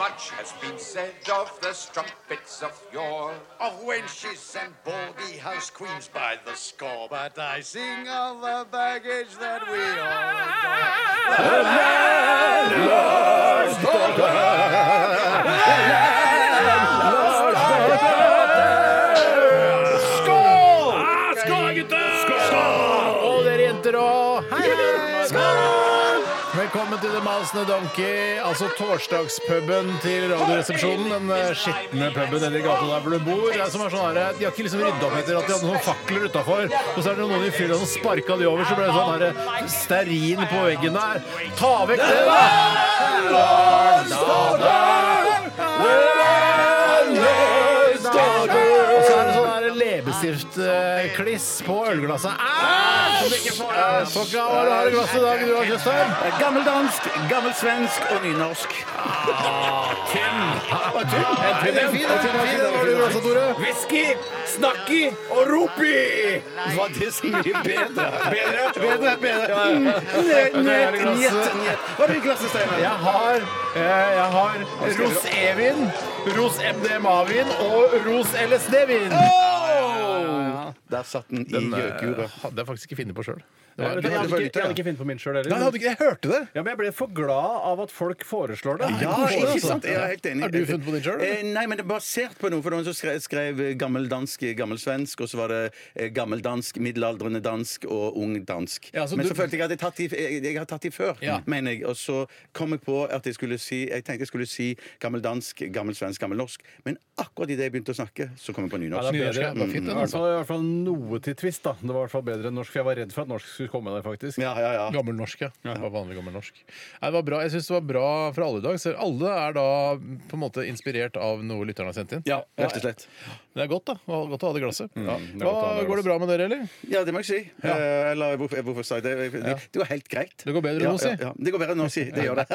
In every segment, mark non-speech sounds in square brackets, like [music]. Much has been said of the strumpets of yore, of wenches and baldy house queens by the score. But I sing of the baggage that we all Og dere jenter òg. Hei, hei! Velkommen til The Masende Donkey, altså torsdagspuben til Radioresepsjonen. Den eh, skitne puben eller gata der hvor du bor. Det er som er sånn her, De har ikke liksom rydda opp etter at de hadde noen fakler utafor. Og så er det noen i fylla som sparka de over, så ble det sånn her, eh, stearin på veggen der. Ta vekk det, da! Og så er det sånn her leppestiftkliss på ølglasset. Ah! Æsj! Så gammel har du glass i dag, du da, Kristian? Gammeldansk, gammelsvensk og nynorsk. Ah, Whisky, snakki og ropi! Var det så mye bedre? Bedre, bedre, bedre. Mm, Njet, njet, njet, njet. Hva er det i glasset, Steinar? Jeg har, eh, jeg har Ros E-vin, Ros MDMA-vin og Ros LSD-vin. Der satt den i Den eh, gjøkura. hadde jeg faktisk ikke funnet på sjøl. Jeg hadde, jeg, hadde ikke, jeg hadde ikke funnet på min sjøl heller. Jeg hørte det. Ja, men jeg ble for glad av at folk foreslår det. Ja, koselig, ikke altså. sant? Jeg er helt enig. Har du funnet på din selv, eller? Eh, Nei, men det er basert på noe. For noen som skrev, skrev gammeldansk, gammelsvensk, og så var det eh, gammeldansk, middelaldrende dansk og ung dansk. Ja, så men du- så følte jeg at jeg, tatt de, jeg, jeg har tatt de før, Ja. mener jeg. Og så kom jeg på at jeg skulle si Jeg tenkte jeg skulle si gammeldansk, gammelsvensk, gammelnorsk. Men akkurat idet jeg begynte å snakke, så kom jeg på Ja, det nynorsk. er bedre. Nynorsk, ja. Det var fint, Mm, I den, hvert altså. fall, i hvert fall noe til twist, da. Det var i hvert fall bedre enn norsk, for jeg var redd for at norsk skulle komme der, faktisk. Ja, ja, ja. Gammel norsk, ja. Det var vanlig gammel norsk. Nei, det var bra. Jeg syns det var bra for alle i dag. Så alle er da på en måte inspirert av noe lytterne har sendt inn. Ja, rett og slett. Det er godt, da. Det var Godt å ha det glasset. Mm, det er Hva, godt å ha det går det bra med dere, eller? [laughs] Ja, det må jeg si. Eh, Eller hvorfor, hvorfor sa jeg det? Det det var helt greit. Det går bedre ja, enn å si. Ja, ja. Det går bedre enn å si. Det [laughs] gjør det.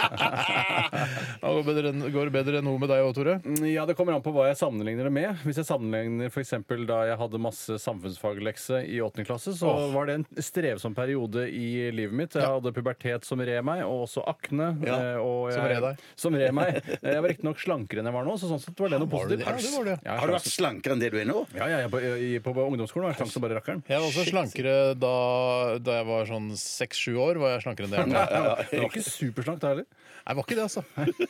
Ja, går, bedre enn, går det bedre enn noe med deg òg, Tore? Mm, Ja, Det kommer an på hva jeg sammenligner det med. Hvis jeg sammenligner for eksempel da jeg hadde masse samfunnsfaglekse i 8. klasse, så var det en strevsom periode i livet mitt. Jeg hadde pubertet som red meg, og også akne. Ja, eh, Og jeg, som red deg. Som red meg. Jeg var riktignok slankere enn jeg var nå, så sånn sett var det noe Var du positivt. det? Ja, det var Ja, det. jeg Har du slank- vært slankere enn det du er nå? Ja, ja, jeg, på, i- på ungdomsskolen var jeg slank som bare rakkeren. Jeg var også slankere da, da jeg var sånn seks-sju år. var jeg slankere enn det jeg er [laughs] nå. Du var ikke superslank da heller. Jeg var ikke det, altså.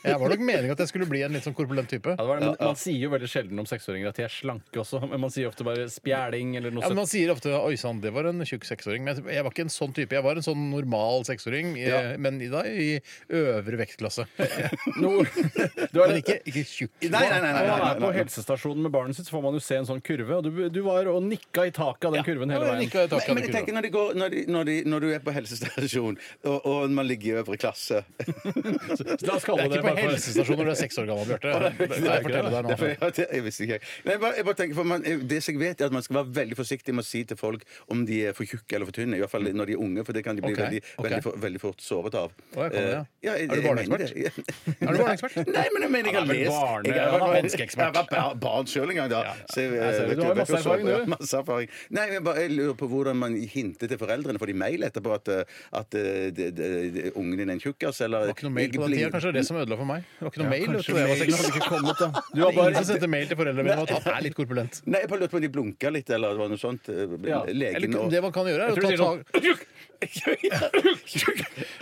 Jeg var nok meningen at jeg skulle bli en litt sånn korpulent type. Ja, det var det. Men man sier jo veldig sjelden om seksåringer at de er slanke også. Men man sier ofte bare spjæling eller noe Ja, men sånt. Man sier ofte 'oi sann, det var en tjukk seksåring'. Men jeg- jeg var ikke en sånn type. Jeg var en sånn normal seksåring, eh, men i dag i øvre vektklasse. [laughs] Noe- Du er Men ikke, ikke tjukk. Nei, nei, nei. nei, nei, Når man nei, er nei. på helsestasjonen med barnet sitt, så får man jo se en sånn kurve. Og du, du var og nikka i taket av den kurven hele Ja, jeg veien. liker å ta Men, men kanekurver. jeg tenker når, det går, når, de, når, de, når du er på helsestasjon, og, og man ligger i øvre klasse La oss Det kalle er det ikke på bare for- helsestasjon når du er seks år gammel, Bjarte. [laughs] Det kan jeg fortelle deg Derfor- nå. [laughs] ja, det- Jeg visste ikke. Nei, jeg bare, jeg bare tenker, for man, det som jeg vet, er at man skal være veldig forsiktig med å si til folk om de er for tjukke eller for tynne. I hvert fall når de er unge, for det kan de bli Ok, veldig, ok. veldig, for, veldig fort såret av. Å, jeg kan det, ja. Eh, ja, jeg- Er du jeg mener det. [laughs] Er du barneekspert? Nei, men jeg mener jeg har Han er vel lest barne- jeg, han er menneskeekspert. Jeg var bar- barn sjøl en gang, da. Så jeg, Jeg ser det. vet Du har jo vet masse så- erfaring, du. ja, Masse erfaring. Nei, men jeg, bare, jeg lurer på hvordan man hinter til foreldrene. Får de mail etterpå at, at eh, de, de, de, ungen din er en tjukkas? Eller Det var ikke noe mail på den tida. Kanskje det er det som ødela for meg. Det var ikke noe mail. vet du, da jeg var seks år. Du Det var var bare ingen som sendte mail til foreldrene mine om at han er litt korpulent. Nei, jeg bare lurte på om de blunka litt, eller det var noe sånt. eh, Ja. Eller, Legen og det man kan gjøre, er å tror de ta [laughs] tak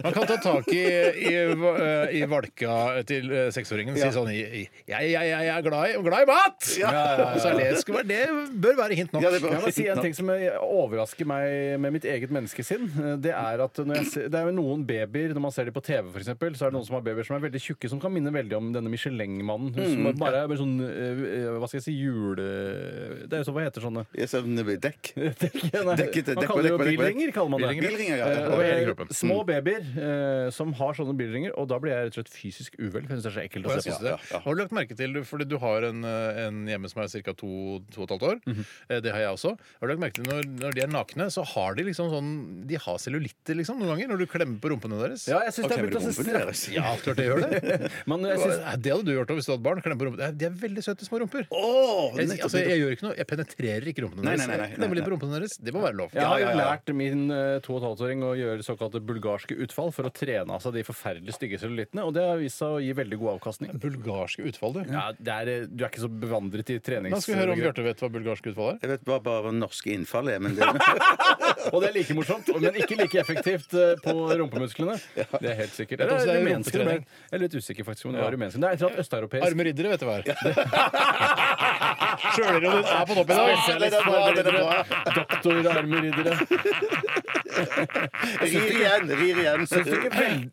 Man kan ta tak i, i, eh, i valka til eh, seksåringen og si sånn i- i- Jeg, jeg, jeg er glad i, glad i mat! Og Så er det, skulle være, det bør være hint nok. Ja, det er bra. Jeg må si en [laughs] ting som overrasker meg med mitt eget menneskesinn. Det er at når jeg ser, det er jo noen babyer, når man ser dem på TV f.eks., så er det noen som har babyer som er veldig tjukke, som kan minne veldig om denne Mm, Michelin-mannen. Hun som bare er bare sånn eh, eh, Hva skal jeg si jule... Det er jo sånn, hva heter sånne? Jeg ser eh, [laughs] dekk. Nei, Dekket, dekk på, man kaller det dekk jo på, dekk på, dekk. bilringer, kaller man det. Bilringer, ja, Eh, over [laughs] og, eh, hele kroppen. Mm. Små babyer eh, som har sånne bilringer, og da blir jeg rett og slett fysisk uvel. for Jeg synes det er så ekkelt å Jeg se synes på. det. Har du lagt merke til, du- fordi du har en, eh, en hjemme som er ca. to, to og et halvt år. Mhm. Eh, Det har jeg også. Har du lagt merke til når, når de er nakne, så har de liksom sånn De har cellulitter liksom, noen ganger når du klemmer på rumpene deres. Ja, jeg synes det er Klemmer begynt du å se rumpene deres? strakt- Ja, klart det gjør [laughs] det. Men jeg synes, Nei, Det hadde du gjort også hvis du hadde barn. Klemme på rumpa. Det er- De er veldig søte små rumper. Åh, Jeg, nettopp, altså, jeg gjør ikke noe, jeg penetrerer ikke rumpene Nei, nei, deres. nei, nei, jeg klemmer litt på rumpene deres. Det må være lov. jeg har jo ja, ja. lært min eh, to og et halvt åring å gjøre såkalte bulgarske utfall for å trene av seg de forferdelig stygge cellulittene, og det har vist seg å gi veldig god avkastning. Bulgarske utfall, du. Ja, det er, eh, du er ikke så bevandret i trenings... Da skal vi høre om Bjarte vet hva bulgarsk utfall er. Jeg vet bare, bare norske innfall er, [laughs] men det Og det er like morsomt, men ikke like effektivt eh, på rumpemusklene. Det er helt sikkert. Vet du Eller om det er rumenske rumpetrening? men Jeg er litt usikker faktisk om det var rumensk. Det er et eller annet østeuropeisk. Arme riddere, vet du hva [laughs] er. Sjølirollen er på topp i dag. Ja, det er bra, det er bra. Doktor Arme Riddere. Rir igjen, rir igjen.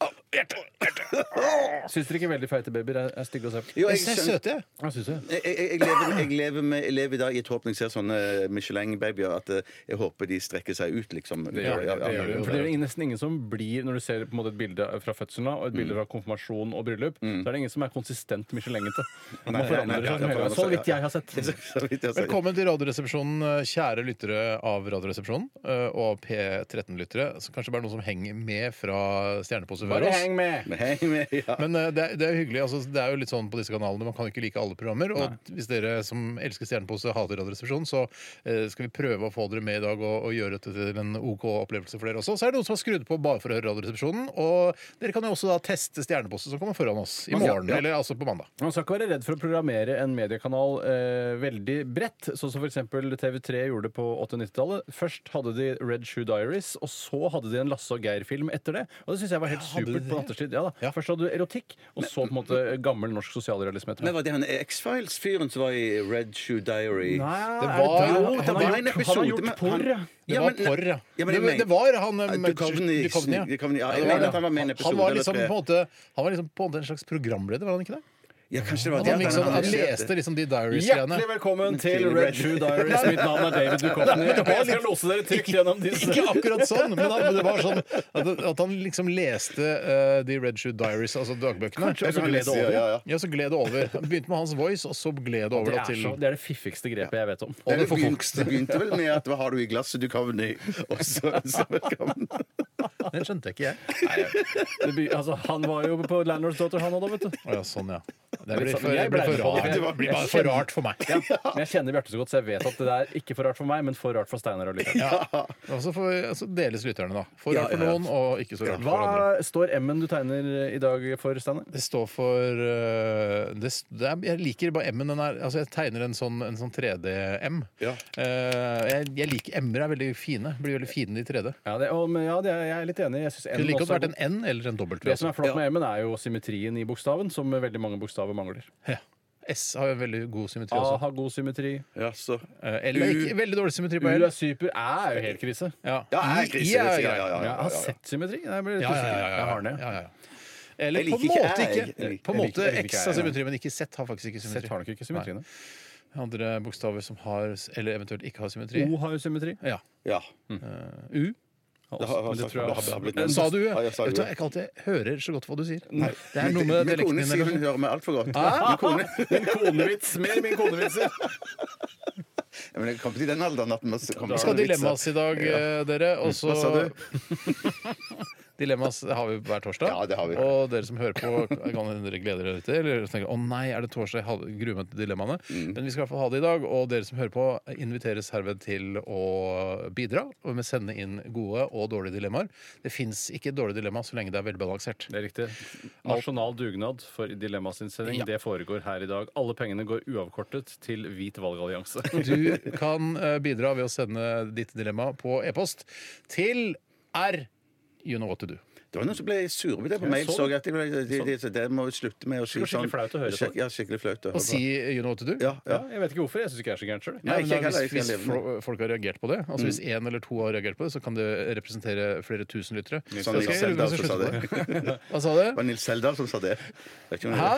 Syns dere ikke veldig feite babyer er, er stygge å se på? Jo, jeg Jeg ser skjønner søte, jeg. Ja, syns jeg. jeg, jeg, jeg, lever, jeg, lever med, jeg lever i dag i et håp når jeg ser sånne Michelin-babyer, at eh, jeg håper de strekker seg ut, liksom. Det gjør det. Ja, det, ja, gjør ja. det. For det er nesten ingen som blir, når du ser på en måte et bilde fra fødselen av, og et Mm. bilde fra konfirmasjon og bryllup, så er det ingen som er konsistent Michelin-ete. Man Nei, nei, nei, forandrer ja, seg ja, som hele veien. Så forandrer Sånn seg, vidt ja. jeg har sett. [laughs] Så vidt jeg har sett. Velkommen til Radioresepsjonen, eh, kjære lyttere av Radioresepsjonen. eh, Og P13-lyttere. Så Kanskje bare noen som henger med fra stjerneposet før Bare oss. heng med! Men heng med, ja. Men eh, det er, det er jo hyggelig. Altså, det er jo litt sånn på disse kanalene, Man kan ikke like alle programmer. Og hvis dere som elsker Stjernepose, hater Radioresepsjonen, så eh, skal vi prøve å få dere med i dag og, og gjøre dette til en OK opplevelse for dere også. Så er det noen som har skrudd på bare for å høre Radioresepsjonen. Og dere kan jo også da teste Stjernepose som kommer foran oss i morgen, eller altså på mandag. Man skal ikke være redd for å programmere en mediekanal eh, veldig bredt, sånn som f.eks. TV3 gjorde på 80- og 90-tallet. Først hadde de Red Shoe Diaries, og så hadde de en Lasse og Geir-film etter det. Og det syns jeg var helt hadde de supert det? på nattestid. Ja, da. Ja. Først hadde du erotikk, og så på en måte gammel norsk sosialrealisme etter Men var det han X-Files-fyren som var i Red Shoe Diary? Nei, Det er var- det- Jo, han, det han, var har en gjort- episode han har gjort med- porr, han- ja. Det Ja, var men- porr, ja. Ja, men det, jeg var- mener- det var han eh, Duchovny. Duchovny, ja. Duchovny, ja, Ja, jeg det var mener at han var med i en Han episode var eller liksom tre. på en måte Han var liksom på en måte en slags programleder, var han ikke det? Ja, kanskje det var Han, det. var liksom, han- han han- leste liksom de Diaries-greiene. Hjertelig velkommen til Til Red Red Shoe Diaries. Mitt navn er [laughs] David Duchovny. Jeg skal lose dere trygt gjennom Ikke disse. akkurat sånn, men, han, men det var sånn at, at han liksom leste eh, de Red Shoe Diaries, altså dagbøkene. Kanskje også Ja, gled det over. Ja, ja. ja, så gled det over. Han begynte med hans voice, og så gled det Det over da er, til så, det er det fiffigste grepet jeg vet om. Og det Det begynte, forfolkste. det begynte vel med at hva har du i glasset, Duchovny? Og så, så velkommen. Den skjønte ikke jeg. Det by, altså, han var jo på Landlords Daughter, han òg, da, vet du. Å ja, sånn, ja. Det Men blir så- for, jeg blir ble for for- rart. Det var- blir bare for rart for meg. Ja. Men jeg kjenner Bjarte så godt, så jeg vet at det der ikke for rart for meg, men for rart for Steinar og Lykke. Og så får altså, deles lytterne, da. For Ja, rart for ja, ja. noen, og ikke så rart for andre. Hva står M-en du tegner i dag for, Steinar? Det står for øh, det, s- det er, Jeg liker bare M-en. Den er, altså jeg tegner en sånn, en sånn 3D-M. Ja. Eh, jeg, jeg liker M-er er veldig fine. Blir veldig fine i 3D. Ja, det, å, men ja det er, jeg er litt enig. Jeg synes Kunne M like godt også er vært god. en N eller en W. Det som er Altså. flott med M-en, er jo symmetrien i bokstaven, som veldig mange bokstaver mangler. Ja. S har jo veldig god symmetri A også. har god symmetri. Ja, så. Eh, L er ikke, veldig dårlig Ah. symmetri U på L. er super. Æ er jo helt krise. Ja, Ja, I- jeg er krise, I er jo ja, ja, greit. ja, ja, Jeg har ja, ja. sett symmetri. Jeg ble litt Ja, ja, ja, usikker. ja, ja. Jeg har den, Ja, ja. ja, ja. Eller Jeg på liker en ikke måte æ, jeg. ikke. Jeg På en liker- måte jeg liker æ, X ja. har symmetri, men ikke Z har faktisk ikke Sett har symmetri. nok ikke symmetriene. Andre bokstaver som har, eller eventuelt ikke har symmetri. O har jo symmetri. Ja. Ja. U. Det har, har, Men det sagt- tror jeg har- har blitt Men Sa du? Ja, jeg Vet sa du, jo. jeg ikke alltid hører så godt hva du sier. Det Men er noe Min med dialekten kone din. sier hun eller Ah! noe. hører meg altfor godt. Min kone, Min [laughs] konevits! Mer min konevitser! Ja, men jeg kom til den alderen at man kommer Vi skal ha dilemmas i dag, eh, dere. Og så Hva sa du? [laughs] Dilemmas har vi hver torsdag. Ja, det har vi. Og dere som hører på, kan dere glede dere til Eller tenke 'Å nei, er det torsdag?' Jeg hadde- gruer meg til dilemmaene. Mm. Men vi skal i hvert fall ha det i dag. Og dere som hører på, inviteres herved til å bidra. Og med sende inn gode og dårlige dilemmaer. Det fins ikke dårlige dilemma så lenge det er velbalansert. Det er riktig. Nasjonal dugnad for Dilemmasinnsending. Ja. Det foregår her i dag. Alle pengene går uavkortet til Hvit [laughs] valgallianse. Du kan eh, bidra ved å sende ditt dilemma på e-post til r you know what to do. Det var noen som ble sure på det på mail. så så jeg at de, ble- de, de, de, de må slutte med å si var sånn. skikkelig flaut å høre på. Skik- Ja, skikkelig flaut å høre Og si eh, på. you know what to do? Ja, ja. Ja, jeg vet ikke hvorfor. Jeg syns ikke jeg er så gæren sjøl. Nei, Nei, ikke jeg heller, Mm. men da, hvis, ikke jeg hvis lever fo- folk har reagert på det, altså hvis én eller to har reagert på det, så kan det representere flere tusen lyttere. Sånn Da skal Nils jeg Seldal runde oss og som sa det. slutte på det. [laughs] Det Hva sa du? var Nils Seldal som sa det. Vet ikke om det- Hæ?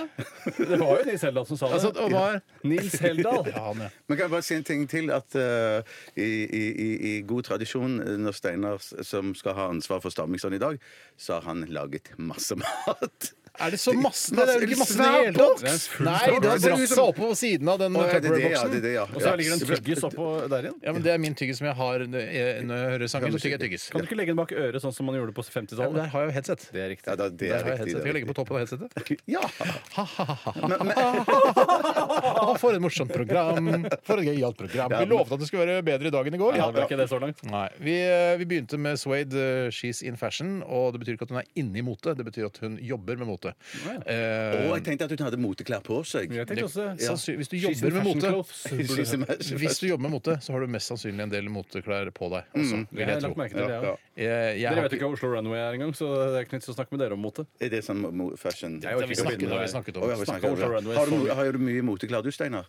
Det var jo Nils Heldal som sa det. Altså, og hva er Nils Heldal. [laughs] Ja, han, ja. Men kan jeg bare si en ting til? At eh, i, i, i, i god tradisjon, eh, når Steinar, s- som skal ha ansvar for Stammingsson i dag, så har han laget masse [laughs] mat. Er det så masse? Det Masse- er jo ikke masse i det svær hele boks! tatt! Det er en full Nei, svær det har boks. dratt seg opp på siden av den Å, ja, det er det, ja, det er Tupperware-boksen. det, ja. Og så ligger det en tyggis oppå der igjen. Ja, men Det er min tyggis som jeg har eh, når jeg når jeg hører sangen. så tygger jeg tyggis. Kan du ikke legge den bak øret, sånn som man gjorde på Ja, men 50-tallet? Der har jeg jo headset. Det er Ja, riktig. da, det Der er har jeg riktig. det headset. Skal jeg er legge på toppen av [laughs] headsetet? Ja. Å, Ah, for et morsomt program! For et gøyalt program. Vi lovte at det skulle være bedre i dag enn i går. Ja, det ble ikke det så langt. Nei, vi, eh, vi begynte med Suede eh, She's in fashion, og det betyr ikke at hun er inne i mote, det betyr at hun jobber med mote. Eh, Å, jeg tenkte at hun hadde moteklær på seg. [laughs] Jeg tenkte også sannsyn- hvis, du She's in jobber med fashion mote, clothes. Burde- hvis du jobber med mote, så har du mest sannsynlig en del moteklær på deg. Også, Mm, Jeg vil har jeg lagt tro. merke til det, ja. Jeg, jeg Dere har vet jo ikke hva Oslo Runway er engang, så det er ikke nytt å snakke med dere om mote. Er det sånn mo- fashion Jeg orker vi ikke å snakket, begynne det har vi med det. snakket Å, om. ja, vi snakker Oslo om det. Runway, Har du, så- mo- har du mye moteklær du, Steinar?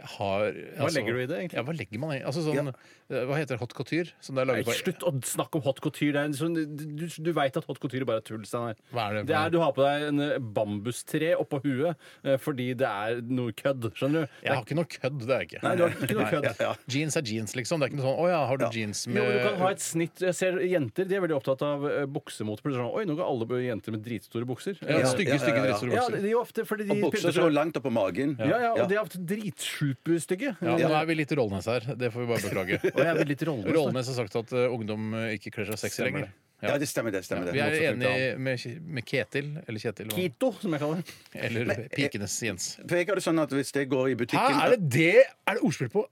Har, altså- legger du i det, egentlig? Ja, hva legger man i? Altså sånn, eh, Hva heter hot couture? Som det er laget Nei, på slutt å snakke om hot couture. Det er en sånn, du du veit at hot couture bare er tull. Steinar. Hva er det det for noe? er du har på deg en eh, bambustre oppå huet eh, fordi det er noe kødd. Skjønner du? Jeg har ikke noe kødd, det er jeg ikke. Nei, du har ikke noe kødd. Jeans er jeans, liksom. Det er ikke noe sånn 'Å ja, har du jeans med Jo, du kan ha et snitt. Jeg ser Jenter de er veldig opptatt av eh, buksemote. for det er Sånn, Oi, nå går alle jenter med dritstore bukser. ja, Eh, Stygge, stygge ja, ja. dresser og ja, bukser. det er jo ofte fordi de Og bukser pynter som går seg. langt opp på magen. Ja, ja, og de er ofte dritsluperstygge. Ja, nå er vi litt Rollnes her. Det får vi bare Og beklage. jeg blir litt rollende. Rollnes har sagt at eh, ungdom eh, ikke kler seg sexy lenger. Ja, det stemmer, det. stemmer det. Vi er Moteklær. enig med, med Ketil, eh, eller Kjetil, hva- Kito, som jeg kaller det. eller Pikenes Jens. For jeg har det sånn at Hvis det går i Hæ, butikken er det det? Er det ordspill på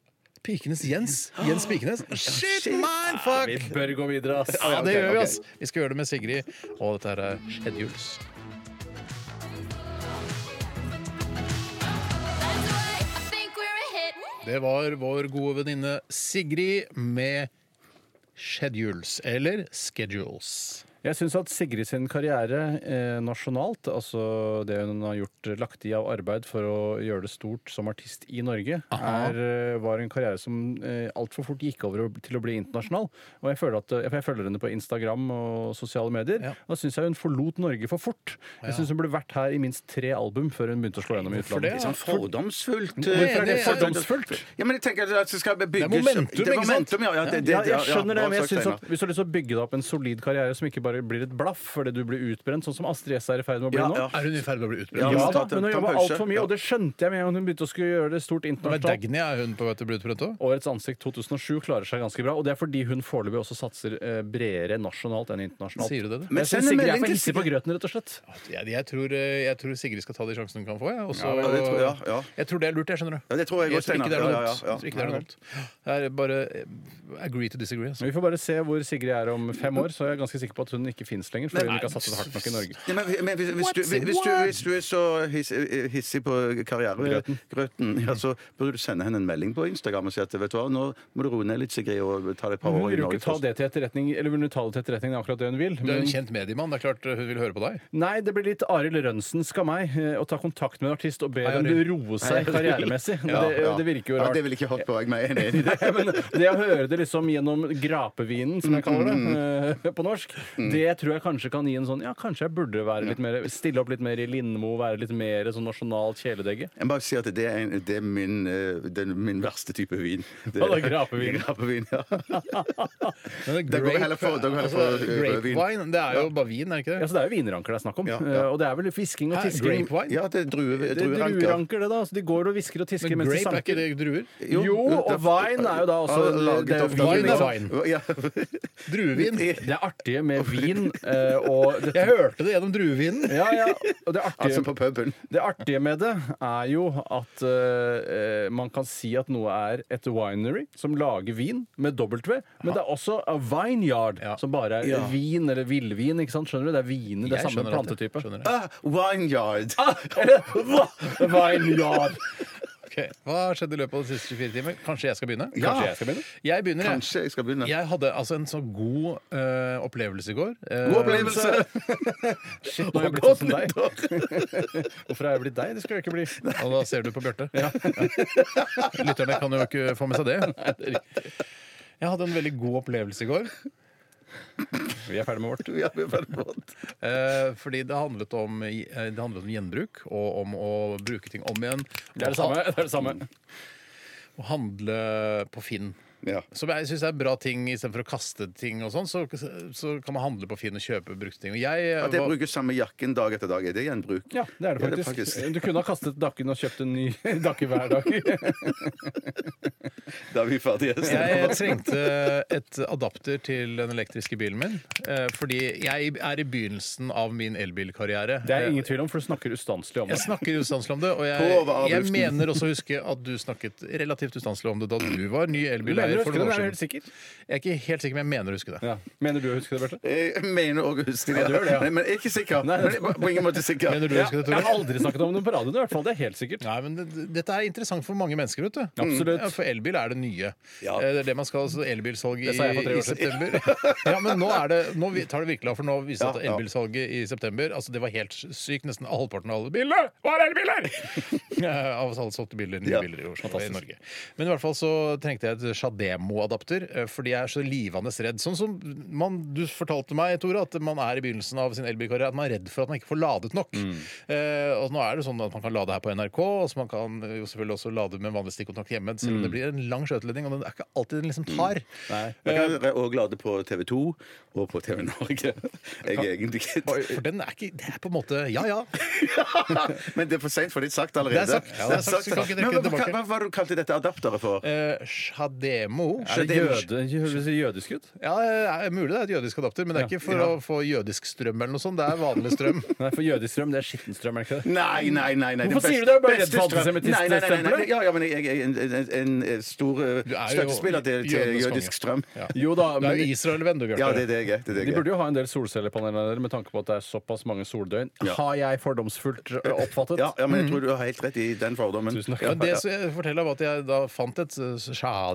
Pikenes Jens? Jens Pikenes? [gasps] Shit, man, fuck! Vi bør gå videre, ass. Ja, det ok, gjør vi, ok. ass. Vi skal gjøre det med Sigrid, og dette her er Skjedjuls. That's right. I think we're a hit. Det var vår gode venninne Sigrid med Schedules, eller Schedules. Jeg syns at Sigrid sin karriere eh, nasjonalt, altså det hun har gjort, lagt i av arbeid for å gjøre det stort som artist i Norge, Aha. er, eh, var en karriere som eh, altfor fort gikk over til å bli internasjonal. Og jeg føler, at, eh, for jeg følger henne på Instagram og sosiale medier. Ja. Og da syns jeg hun forlot Norge for fort. Jeg syns hun burde vært her i minst tre album før hun begynte å slå gjennom i Hvorfor utlandet. det? Sånn fordomsfullt. Hvorfor er det fordomsfullt? Ja, men jeg tenker at det skal bygges Det er momentum, Det er ikke sant? momentum, ja, ja, det, det, ja, jeg ja, skjønner det, bra men jeg sagt, synes Steinar. at Hvis du har lyst til å bygge deg opp en solid karriere som ikke bare blir et blaff fordi du blir utbrent, sånn som Astrid S er i ferd med å bli Ja, nå, ja. Er hun i ferd med å bli Ja, utbrent? Ja, men da, ta- men hun ta en jobba pause. altfor mye, Ja. og det skjønte jeg med en gang hun begynte å skulle gjøre det stort Men internasjonalt. Dagny, er hun på vei til å bli utbrent òg? Årets ansikt 2007 klarer seg ganske bra, og det er fordi hun foreløpig også satser eh, bredere nasjonalt enn internasjonalt. Sier du det, da? Men Jeg synes send en Sigrid er melding for til hissig på grøten, rett og slett. Jeg, jeg, tror, eh, jeg tror Sigrid skal ta de sjansene hun kan få. Jeg, og så- Ja, det tror jeg, ja. jeg tror det er lurt, jeg, skjønner du. Ja, det tror jeg også, ikke det er Steinar. noe Ja, ja, dumt. ja. Jeg tror ikke det er noe dumt. Det er bare eh, agree to disagree. Altså. Vi får bare se hvor Sigrid er om fem år, så er jeg ganske sikker på at hun ikke fins lenger. Fordi hun ikke har satset hardt nok i Norge. Ja, men, men hvis, hvis, du, hvis, du, hvis du er så hiss, hissig på Grøten. karrieregrøten, ja, så burde du sende henne en melding på Instagram og si at vet du hva, nå må du roe ned litt, Sigrid, og ta deg et par Hun år i vil jo Norge ikke ta først. det til etterretning, eller vil hun ta det til etterretning, det er akkurat det hun vil. Du er jo Mm. Men en kjent mediemann. Det er klart eh, hun vil høre på deg. Nei, det blir litt Arild Rønnsen-skal meg eh, å ta kontakt med en artist og be Hei, dem Arild. roe seg karrieremessig. [laughs] Ja, det, ja. det virker jo Ja, rart. det vil ikke hoppe på, jeg men jeg er enig i [laughs] det. Ja, men det å høre det liksom gjennom grapevinen, som jeg kaller det eh, på norsk, det tror jeg kanskje kan gi en sånn Ja, kanskje jeg burde være litt mer stille opp litt mer i Lindmo, være litt mer sånn nasjonalt kjæledegge. Jeg må bare si at det er, en, det er min, eh, det er min verste type vin. Det, [laughs] Ja, det er [laughs] grapevin. grapevin, [laughs] ja. Da Det går vi heller for- da går vi heller for, eh, rødvin. grapevine, altså, det er jo bare vin, er det ikke Ja, det? så Det er jo vinranker det er snakk om. Ja, ja. Eh, Og det er vel hvisking og Hæ, tisking. grapevine? ja, det er drue, Det er drueranker. drueranker, det, da. Så de går og hvisker og tisker Men mens de grape er ikke sanker. det druer? Jo, og vine er jo da også Ja, laget altså, det er av- vin, Vine ikke er sant? vin. [laughs] Ja. Druevin. Det er artige med vin eh, og dette- Jeg hørte det gjennom druevinen. ja, ja. Og det artige Altså på puben. Det artige med det er jo at eh, man kan si at noe er et winery som lager vin med W, men det er også a vineyard Ja. som bare er vin eller villvin. ikke sant? Skjønner du? Det er viner, det er samme plantetype. Skjønner det. [laughs] Ah, Wineyard. Eller hva? Vineyard. Ok, Ok, Hva har skjedd i løpet av de siste 24 timer? Kanskje jeg skal begynne? Ja. Kanskje jeg skal begynne? Jeg begynner, jeg. Kanskje jeg skal begynne. Jeg hadde altså en så god eh, opplevelse i går. Eh, God opplevelse! Shit, nå har jeg blitt Og sånn som deg. godt Hvorfor har jeg blitt deg? Det skal jeg ikke bli. Og da ser du på Bjarte. Lytterne kan jo ikke få med seg det. Jeg hadde en veldig god opplevelse i går. Vi er ferdig med vårt. [laughs] Ja, vi er ferdig med alt. Eh, fordi det handlet, om, eh, det handlet om gjenbruk, og om å bruke ting om igjen. Det er det samme. Det er det samme. Å handle på Finn. Ja. Som jeg syns er bra ting, istedenfor å kaste ting og sånn, så, så kan man handle på Finn og kjøpe brukte ting. Og jeg At jeg var- bruker samme jakken dag etter dag, er det gjenbruk? Ja, det er det faktisk. Du kunne ha kastet dakken og kjøpt en ny [laughs] dakke hver dag. Da er vi ferdige. Jeg trengte et adapter til den elektriske bilen min. eh, Fordi jeg er i begynnelsen av min elbilkarriere. Eh, Det er ingen tvil om, for du snakker ustanselig om Jeg det. snakker ustanselig om det, og På jeg, jeg avgiften. mener også å huske at du snakakket relativt ustanselig om det da du var Du ny mener elbileier å huske for det, noen men år er du helt sikker? siden. Jeg er ikke helt sikker, men jeg mener å huske det. Ja. Mener du å huske det, Bjarte? Jeg mener òg å huske det. Ja, du gjør det, ja. Nei, Men jeg er ikke sikker. Nei. Men jeg er på ingen måte sikker. Mener du å Ja. huske det, Jeg har Tore? aldri snakket om det på radioen, i hvert fall. Det er helt sikkert. Mm. Nei, men det, Dette er interessant for mange mennesker. vet du Absolutt. Ja, For elbil er det nye. Ja. Eh, Det er det man skal altså elbilsalg i, Det sa jeg for tre i år siden. september. [laughs] ja, men nå, er det, nå vi- tar det virkelig av, for nå viser det Ja, seg ja. at elbilsalget i september altså det var helt sykt. Nesten halvparten av alle bilene var [laughs] elbiler! [laughs] Eh, av alle solgte biler, nye Ja. biler i, Oslo, i Norge. Men i hvert fall så trengte jeg et Shademo-adapter, eh, fordi jeg er så livende redd. Sånn som man, du fortalte meg, Tore, at man er i begynnelsen av sin elbilkarriere, at man er redd for at man ikke får ladet nok. Mm. Eh, og nå er det sånn at man kan lade her på NRK, og så man kan jo selvfølgelig også lade med vanlig stikkontakt hjemme, selv Mm. om det blir en lang skjøteledning, og den er ikke alltid den liksom tar. Eh. Jeg kan òg lade på TV 2 og på TV Norge. Jeg er egentlig ikke For den er ikke Det er på en måte Ja, ja. [laughs] Men det er for seint, for det er sagt allerede. Det er sagt. Ja, det er sagt, så vi kan Men ikke trekke hva, det tilbake. hva, hva var det du kalte dette adapteret for? Eh, Shademo Er det jøde, høres det jødisk ut? Ja, det er mulig det er et jødisk adapter, men det er ikke for å få jødisk strøm eller noe sånt. Det er vanlig [laughs] strøm. Nei, for jødisk strøm, det er skitten strøm, er det ikke det? Nei, nei, nei, nei. Hvorfor den sier du det? Er du bare beste redd for strøm- Nei, antisemittisme- nei, nei, nei, nei. stempelet? Ja, ja, men jeg, jeg er en, en, en, en stor eh, Du er jo støttespiller til, til jødenes konge. jødisk strøm. Ja. [laughs] Jo da, Du er men jo Israel-venn, du, Ja, Bjarte. det er det jeg er. Det er det de jeg er. burde jo ha en del solcellepaneler der, med tanke på at det er såpass mange soldøgn. Har jeg fordomsfullt ø, oppfattet? Ja, ja, men jeg tror du har helt rett i den fordommen. Tusen takk. Ja, det som jeg forteller var at jeg da fant et eh,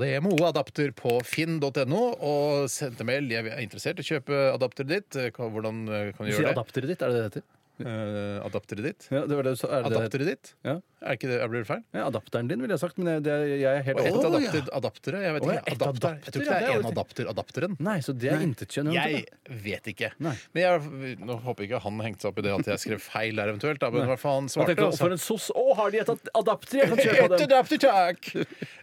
Shademo-adapter på finn.no og sendte mail. Jeg er interessert i å kjøpe adapteret ditt. Eh, hva- Hvordan eh, kan du Sier gjøre det? adapteret ditt, er det det heter? Eh, Adapteret ditt? Ja, det var det, du sa. er det det heter? Adapteret ditt? Ja. Er ikke det, jeg blir det feil? Ja, adapteren din, ville jeg sagt, men jeg, det, jeg er helt Og ett Å, ja. adapter, adaptere? Jeg vet Å, ja, ikke. ett Adapter. Jeg tror ikke adapter, det ja, er det én er adapter. Adapteren. Nei, så det er intetkjønnende. Jeg vet ikke. Nei. Men jeg, nå håper ikke han hengte seg opp i det at jeg skrev feil der eventuelt. Da, men i hvert fall han Jeg svarte. tenkte, og sa- for en sos! Å, har de et ad- adapter? Jeg kan kjøpe av [laughs] Etter dem. Dapter Jack!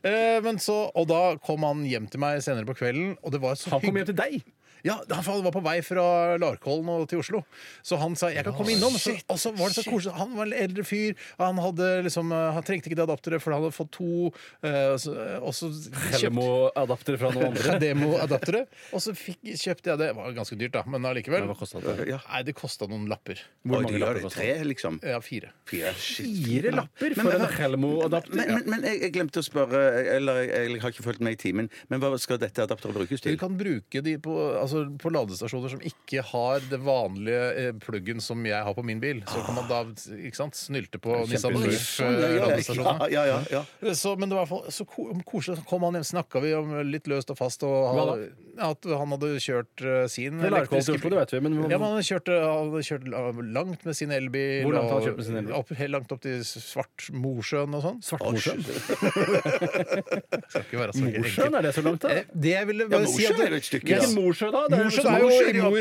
Eh, men så, og da kom han hjem til meg senere på kvelden, og det var så Han kom hjem til deg. Ja, han var på vei fra Larkollen og til Oslo. Så han sa 'jeg kan komme innom'. Så, og så var det så koselig. Han var en eldre fyr. Han, hadde liksom, eh, han trengte ikke det adapteret, for han hadde fått to. eh, og så- Og så kjøpte Helmo-adapter fra noen [laughs] [laughs] andre. Demo-adapteret. Og så fikk, kjøpte jeg det. Det var ganske dyrt, da, men allikevel. Hva kostet det? Nei, det kosta noen lapper. Hvor Oi, mange de gjør lapper det. kostet Tre, liksom? Ja, fire. Fire. Shit. Fire lapper Men- for en men- Helmo-adapter? Men, men, men jeg, jeg glemte å spørre, eller jeg, jeg har ikke fulgt med i timen, men hva skal dette adapteret brukes Du til? kan bruke de på, altså, på ladestasjoner som ikke har det vanlige eh, pluggen som jeg har på min bil. Så kan man da ikke sant, snylte på Nissan kjempelurt. Leaf-ladestasjonene. ja, ja, ja. Så, men det var i hvert fall så ko- koselig. Så kom han hjem, snakka vi om litt løst og fast. Og han, at han hadde kjørt eh, sin Det er Larkollen til elektriske Oslo, det vet vi, men- ja, men han, kjørte, han hadde kjørt la- langt med sin elbil. Hvor langt har han og kjørt med sin elbil? Opp, helt langt opp til Svartmosjøen og sånn. Svartmosjøen? Skal altså ikke være så Mosjøen, enkelt. er det så langt, da? Eh, Det jeg ville Ja, bare si at Mosjøen er jo et stykke, Jeg- ja. Hvilken morsjø, da? Det er liksom Mosjøen jo- er jo i de Mo oppe i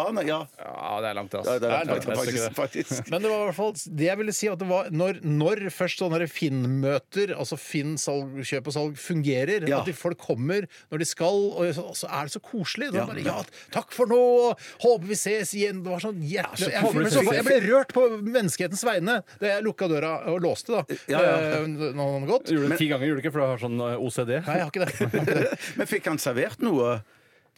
Rana. Ja, Ja, det er langt, ja, altså. det er Det er langt, faktisk, faktisk. Men det var i hvert fall det jeg ville si at det var når, når først sånne der Finn-møter, altså Finn salg, kjøp og salg, fungerer, Ja. at de folk kommer når de skal, og så, og så er det så koselig. Da, bare, ja, takk for nå, og håper vi ses igjen. Det var sånn hjertelig. så jeg, kommer ble det så, så- jeg ble rørt på menneskehetens vegne da jeg lukka døra og låste, da. Ja, ja. Eh, Nå har han gått. Gjorde det ti ganger, gjorde du ikke, for du har sånn eh, OCD? Nei, jeg har ikke det. Men fikk han servert noe?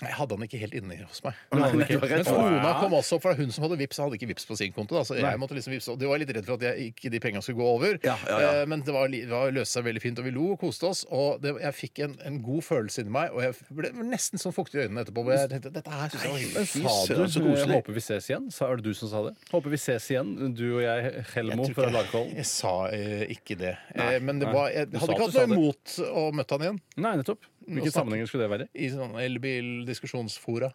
Nei, Jeg hadde han ikke helt inni hos meg. Hun hadde Men ikke- Men kona kona kom kom også opp, for det er hun som hadde vips, hadde ikke vips på sin konto. Da, så jeg måtte liksom vips, og De var litt redd for at jeg, ikke de pengene skulle gå over. Eh, Men det, var, li- det var, løste seg veldig fint, og vi lo og koste oss. Og det, jeg fikk en, en god følelse inni meg, og jeg ble nesten sånn fuktig i øynene etterpå. hvor Jeg tenkte, dette her synes jeg var hyggelig. Sa Fy du søren, så eh, koselig. 'håper vi ses igjen'? Sa, er det du som sa det? 'Håper vi ses igjen', du og jeg, Helmo Jeg tror fra ikke- Larkollen. Jeg sa eh, ikke det. Eh, men det nei. var, jeg Du hadde sa ikke at hatt du noe sa det. imot å møte han igjen. Nei, nettopp. Hvilke snakker- sammenhenger skulle det være? I sånn elbildiskusjonsfora.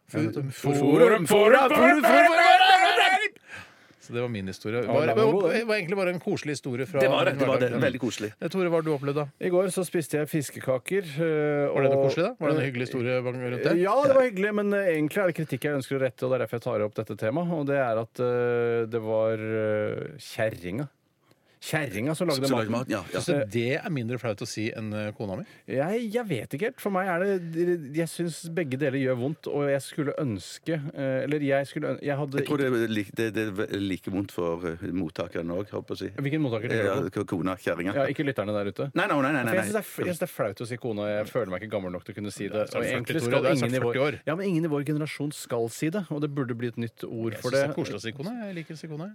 Så det var min historie. Det var, lang det og god, var, den. det var egentlig bare en koselig historie fra Det var det. det, var det. hverdagen. Veldig koselig. Eh, Tore, hva har du opplevd, da? I går så spiste jeg fiskekaker. eh, Var det noe og- koselig, da? Var det en hyggelig historie bak- rundt det? Ja, det var hyggelig, men eh, egentlig er det kritikk jeg ønsker å rette, og det er derfor jeg tar opp dette temaet, og det er at eh, det var eh, kjerringa. Kjerringa som lagde Så lagde maten. mat, ja, ja. Så Altså, det er mindre flaut å si enn eh, kona mi? Jeg, jeg vet ikke helt. For meg er det Jeg syns begge deler gjør vondt, og jeg skulle ønske eh, Eller jeg skulle ønske Jeg hadde Jeg tror det er like, det, det er like vondt for eh, mottakeren òg, holdt på å si. Hvilken mottaker Eh, tenker du på? ja, Kona, kjerringa. Ja, ikke lytterne der ute. Nei, nei, nei. nei, For nei. Jeg syns det, er f- jeg synes det er flaut å si kona. og Jeg føler meg ikke gammel nok til å kunne si det. er Og 40, egentlig Tore, skal du er ingen i vår, 40 år. ja, men ingen i vår generasjon skal si det, og det burde bli et nytt ord Jeg for synes det er det. koselig å si kone. Jeg liker å si kone.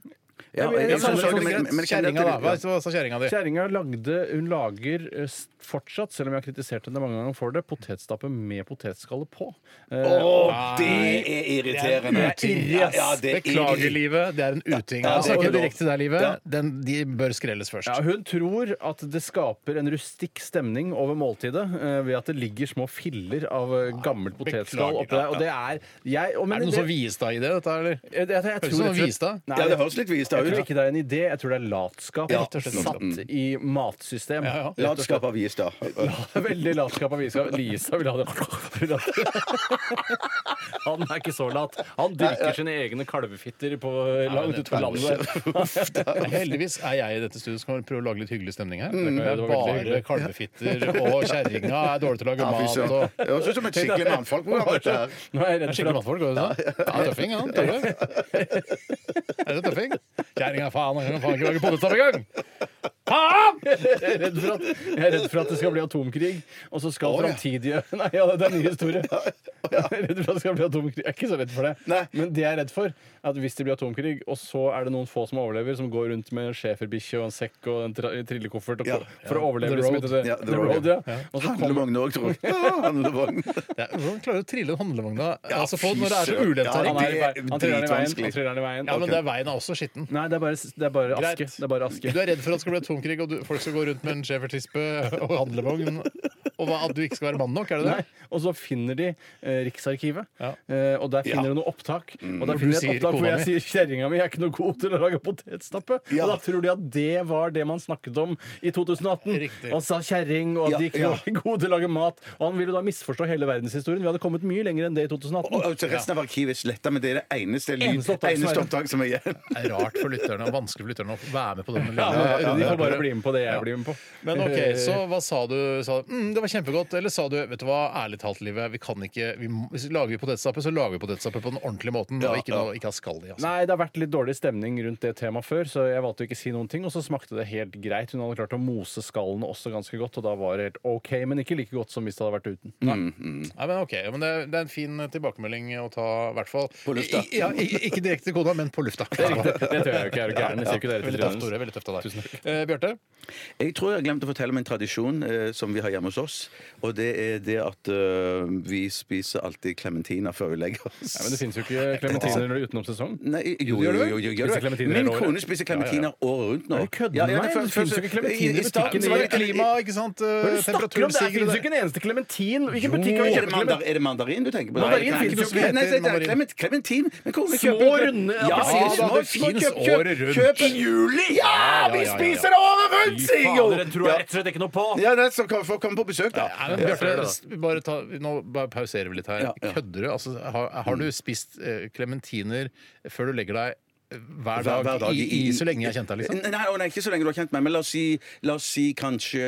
Ja, jeg- men- men- jeg- men- sorry, men- men- Kjerringa, da. Hva hva sa kjerringa di? [laughs] Kjerringa lagde Hun lager eh, s- fortsatt, selv om jeg har kritisert henne mange ganger for det, potetstappe med potetskalle på. Eh, Å, det er irriterende! Ja, ja, det er Beklager, irri- Livet. Det er en uting. Ja, det er Jeg snakker ikke lov. direkte til deg, Ja. Livet. Den, de bør skrelles først. Ja, hun tror at det skaper en rustikk stemning over måltidet eh, ved at det ligger små filler av eh, gammelt potetskall oppi der. Og det er jeg, og, men, Ah, Er det noen som viste deg i det, dette, eller? Jeg, jeg, jeg, Høres tror ut rett som og slett- vista. Nei, Ja, det høres litt vist jeg ut. tror ikke det er en idé, jeg tror det er latskap. Ja, rett og slett latskap. satt i matsystem. ja. Rett og slett. Latskap av is, da. Veldig latskap av visa. Lisa vil ha det. Vil ha det. Han er ikke så lat. Han drikker sine egne kalvefitter på langt ute på landet. [laughs] Heldigvis er jeg i dette studioet som kan prøve å lage litt hyggelig stemning her. Mm, Det det er var bare veldig hyggelig. kalvefitter, og kjerringa er dårlig til å lage Ja, fy mat. søren. og... Det høres ut som et skikkelig mannfolk. Hvordan var dette her? Nå er jeg Er redd for skikkelig at mannfolk, går det sånn? Ja, tøffing, han. Tøffe. [laughs] Er det tøffing? Kjerringa, faen, han kan faen ikke lage potetstapp engang! Jeg er redd for at, jeg er redd for at det skal bli atomkrig, og så skal ja. framtidige [laughs] Nei, ja, det er en ny historie. Jeg er redd for at det skal bli atomkrig. Jeg er ikke så redd for det. Nei. Men det jeg er redd for, er at hvis det blir atomkrig, og så er det noen få som overlever, som går rundt med en schæferbikkje og en sekk og en tra- trillekoffert og, Ja. for å overleve The liksom, road. etter det. Ja, the The road. road, ja. Og så kommer Handlevogn òg, [laughs] tror jeg. Ja, Handlevogn. Ja, Hvordan klarer du å trille handlevogna Ja, altså, på, fy når det er så søren. ulent Ja, terreng? han, er, i vei- han triller den i veien. Dritvanskelig. Han triller den i veien. Ja, men det er veien er også skitten. Nei, det er bare, det er bare aske. Greit. Det er bare aske. Du er redd for at det skal bli atomkrig, og du, folk skal gå rundt med en schæfertispe og handlevogn, og hva, at du ikke skal være mann nok, er det det? Nei. Og så finner de eh, Riksarkivet, Ja. Mm. eh, og der finner de noe opptak. Og der finner de sier et opptak hvor kona jeg sier 'kjerringa mi er ikke noe god til å lage potetstappe'. Ja. Og da tror de at det var det man snakket om i 2018. Riktig. Han sa 'kjerring', og at Ja, de ikke var [laughs] gode til å lage mat. Og han ville da misforstå hele verdenshistorien. Vi hadde kommet mye lenger enn det i 2018. Og- og så Resten av arkivet er sletta, men det er det eneste lyd- Eneste opptak som er- eneste opptak som er [laughs] igjen. Det er rart for lytterne og vanskelig for lytterne å være med på den. Ja, lille- De får bare bli med på det jeg blir med på. Men ok, så hva sa du? Sa du mm, det var kjempegodt, eller sa du vet du hva, ærlig talt, livet, vi kan ikke vi, må- Hvis vi lager vi potetstappe, så lager vi potetstappe på den ordentlige måten, og ikke, noe, ikke ha skall i. Altså. Nei, det har vært litt dårlig stemning rundt det temaet før, så jeg valgte å ikke si noen ting. Og så smakte det helt greit. Hun hadde klart å mose skallene også ganske godt, og da var det helt OK, men ikke like godt som hvis det hadde vært uten. Nei, men ok, men det, er- det er en fin eh, tilbakemelding å ta, i hvert fall. På lufta. I, ja, i, ikke direkte til kona, men på lufta. [laughs] Det er riktig. Det tror jeg jo ikke er gæren. Jeg sier jo ikke det Veldig til Trine. tøft, Tore. Veldig tøft av deg. Eh, Bjarte? Jeg tror jeg har glemt å fortelle om en tradisjon eh, som vi har hjemme hos oss. Og det er det at eh, vi spiser alltid klementiner før vi legger oss. Nei, men det fins jo ikke klementiner utenom sesong. Nei, jo, jo, jo, jo, jo, gjør Spiser det. klementiner Min hele året? kone spiser klementiner året rundt nå. Er du kødden Ja, ja, med meg? før- Det finnes før- jo ikke klementiner i i starten butikken så var det i- litt- Klima, ikke sant? Eh, Hva er det du snakker om? Det Temperaturstigende. fins jo ikke en eneste klementin! Hvilken butikk Jo, kan er, vi det kjøpe mandar, klementin? er det mandarin du tenker på? Mandarin Nei, finnes jo nei, ikke. nei, nei, det er clement- Klementin! Men kone Små, kjøper- runde Ja, appelsiner. små, Det små, finnes kjøp, kjøp, året rundt. kjøp i juli! Ja, vi ja, ja. spiser det året rundt, Fy sier jeg jo! fader, det tror jeg rett og slett ikke noe på! Ja, nei, så kan folk komme på besøk, da. Nei, men Bjarte, s- bare ta, nå bare pauserer vi litt her. Ja, ja. Kødder du? Altså, har, har du spist klementiner eh, før du legger deg hver dag, i, i, så lenge jeg kjente deg, liksom? Nei, nei, å, nei, ikke så lenge du har kjent meg, men la oss si, la oss si kanskje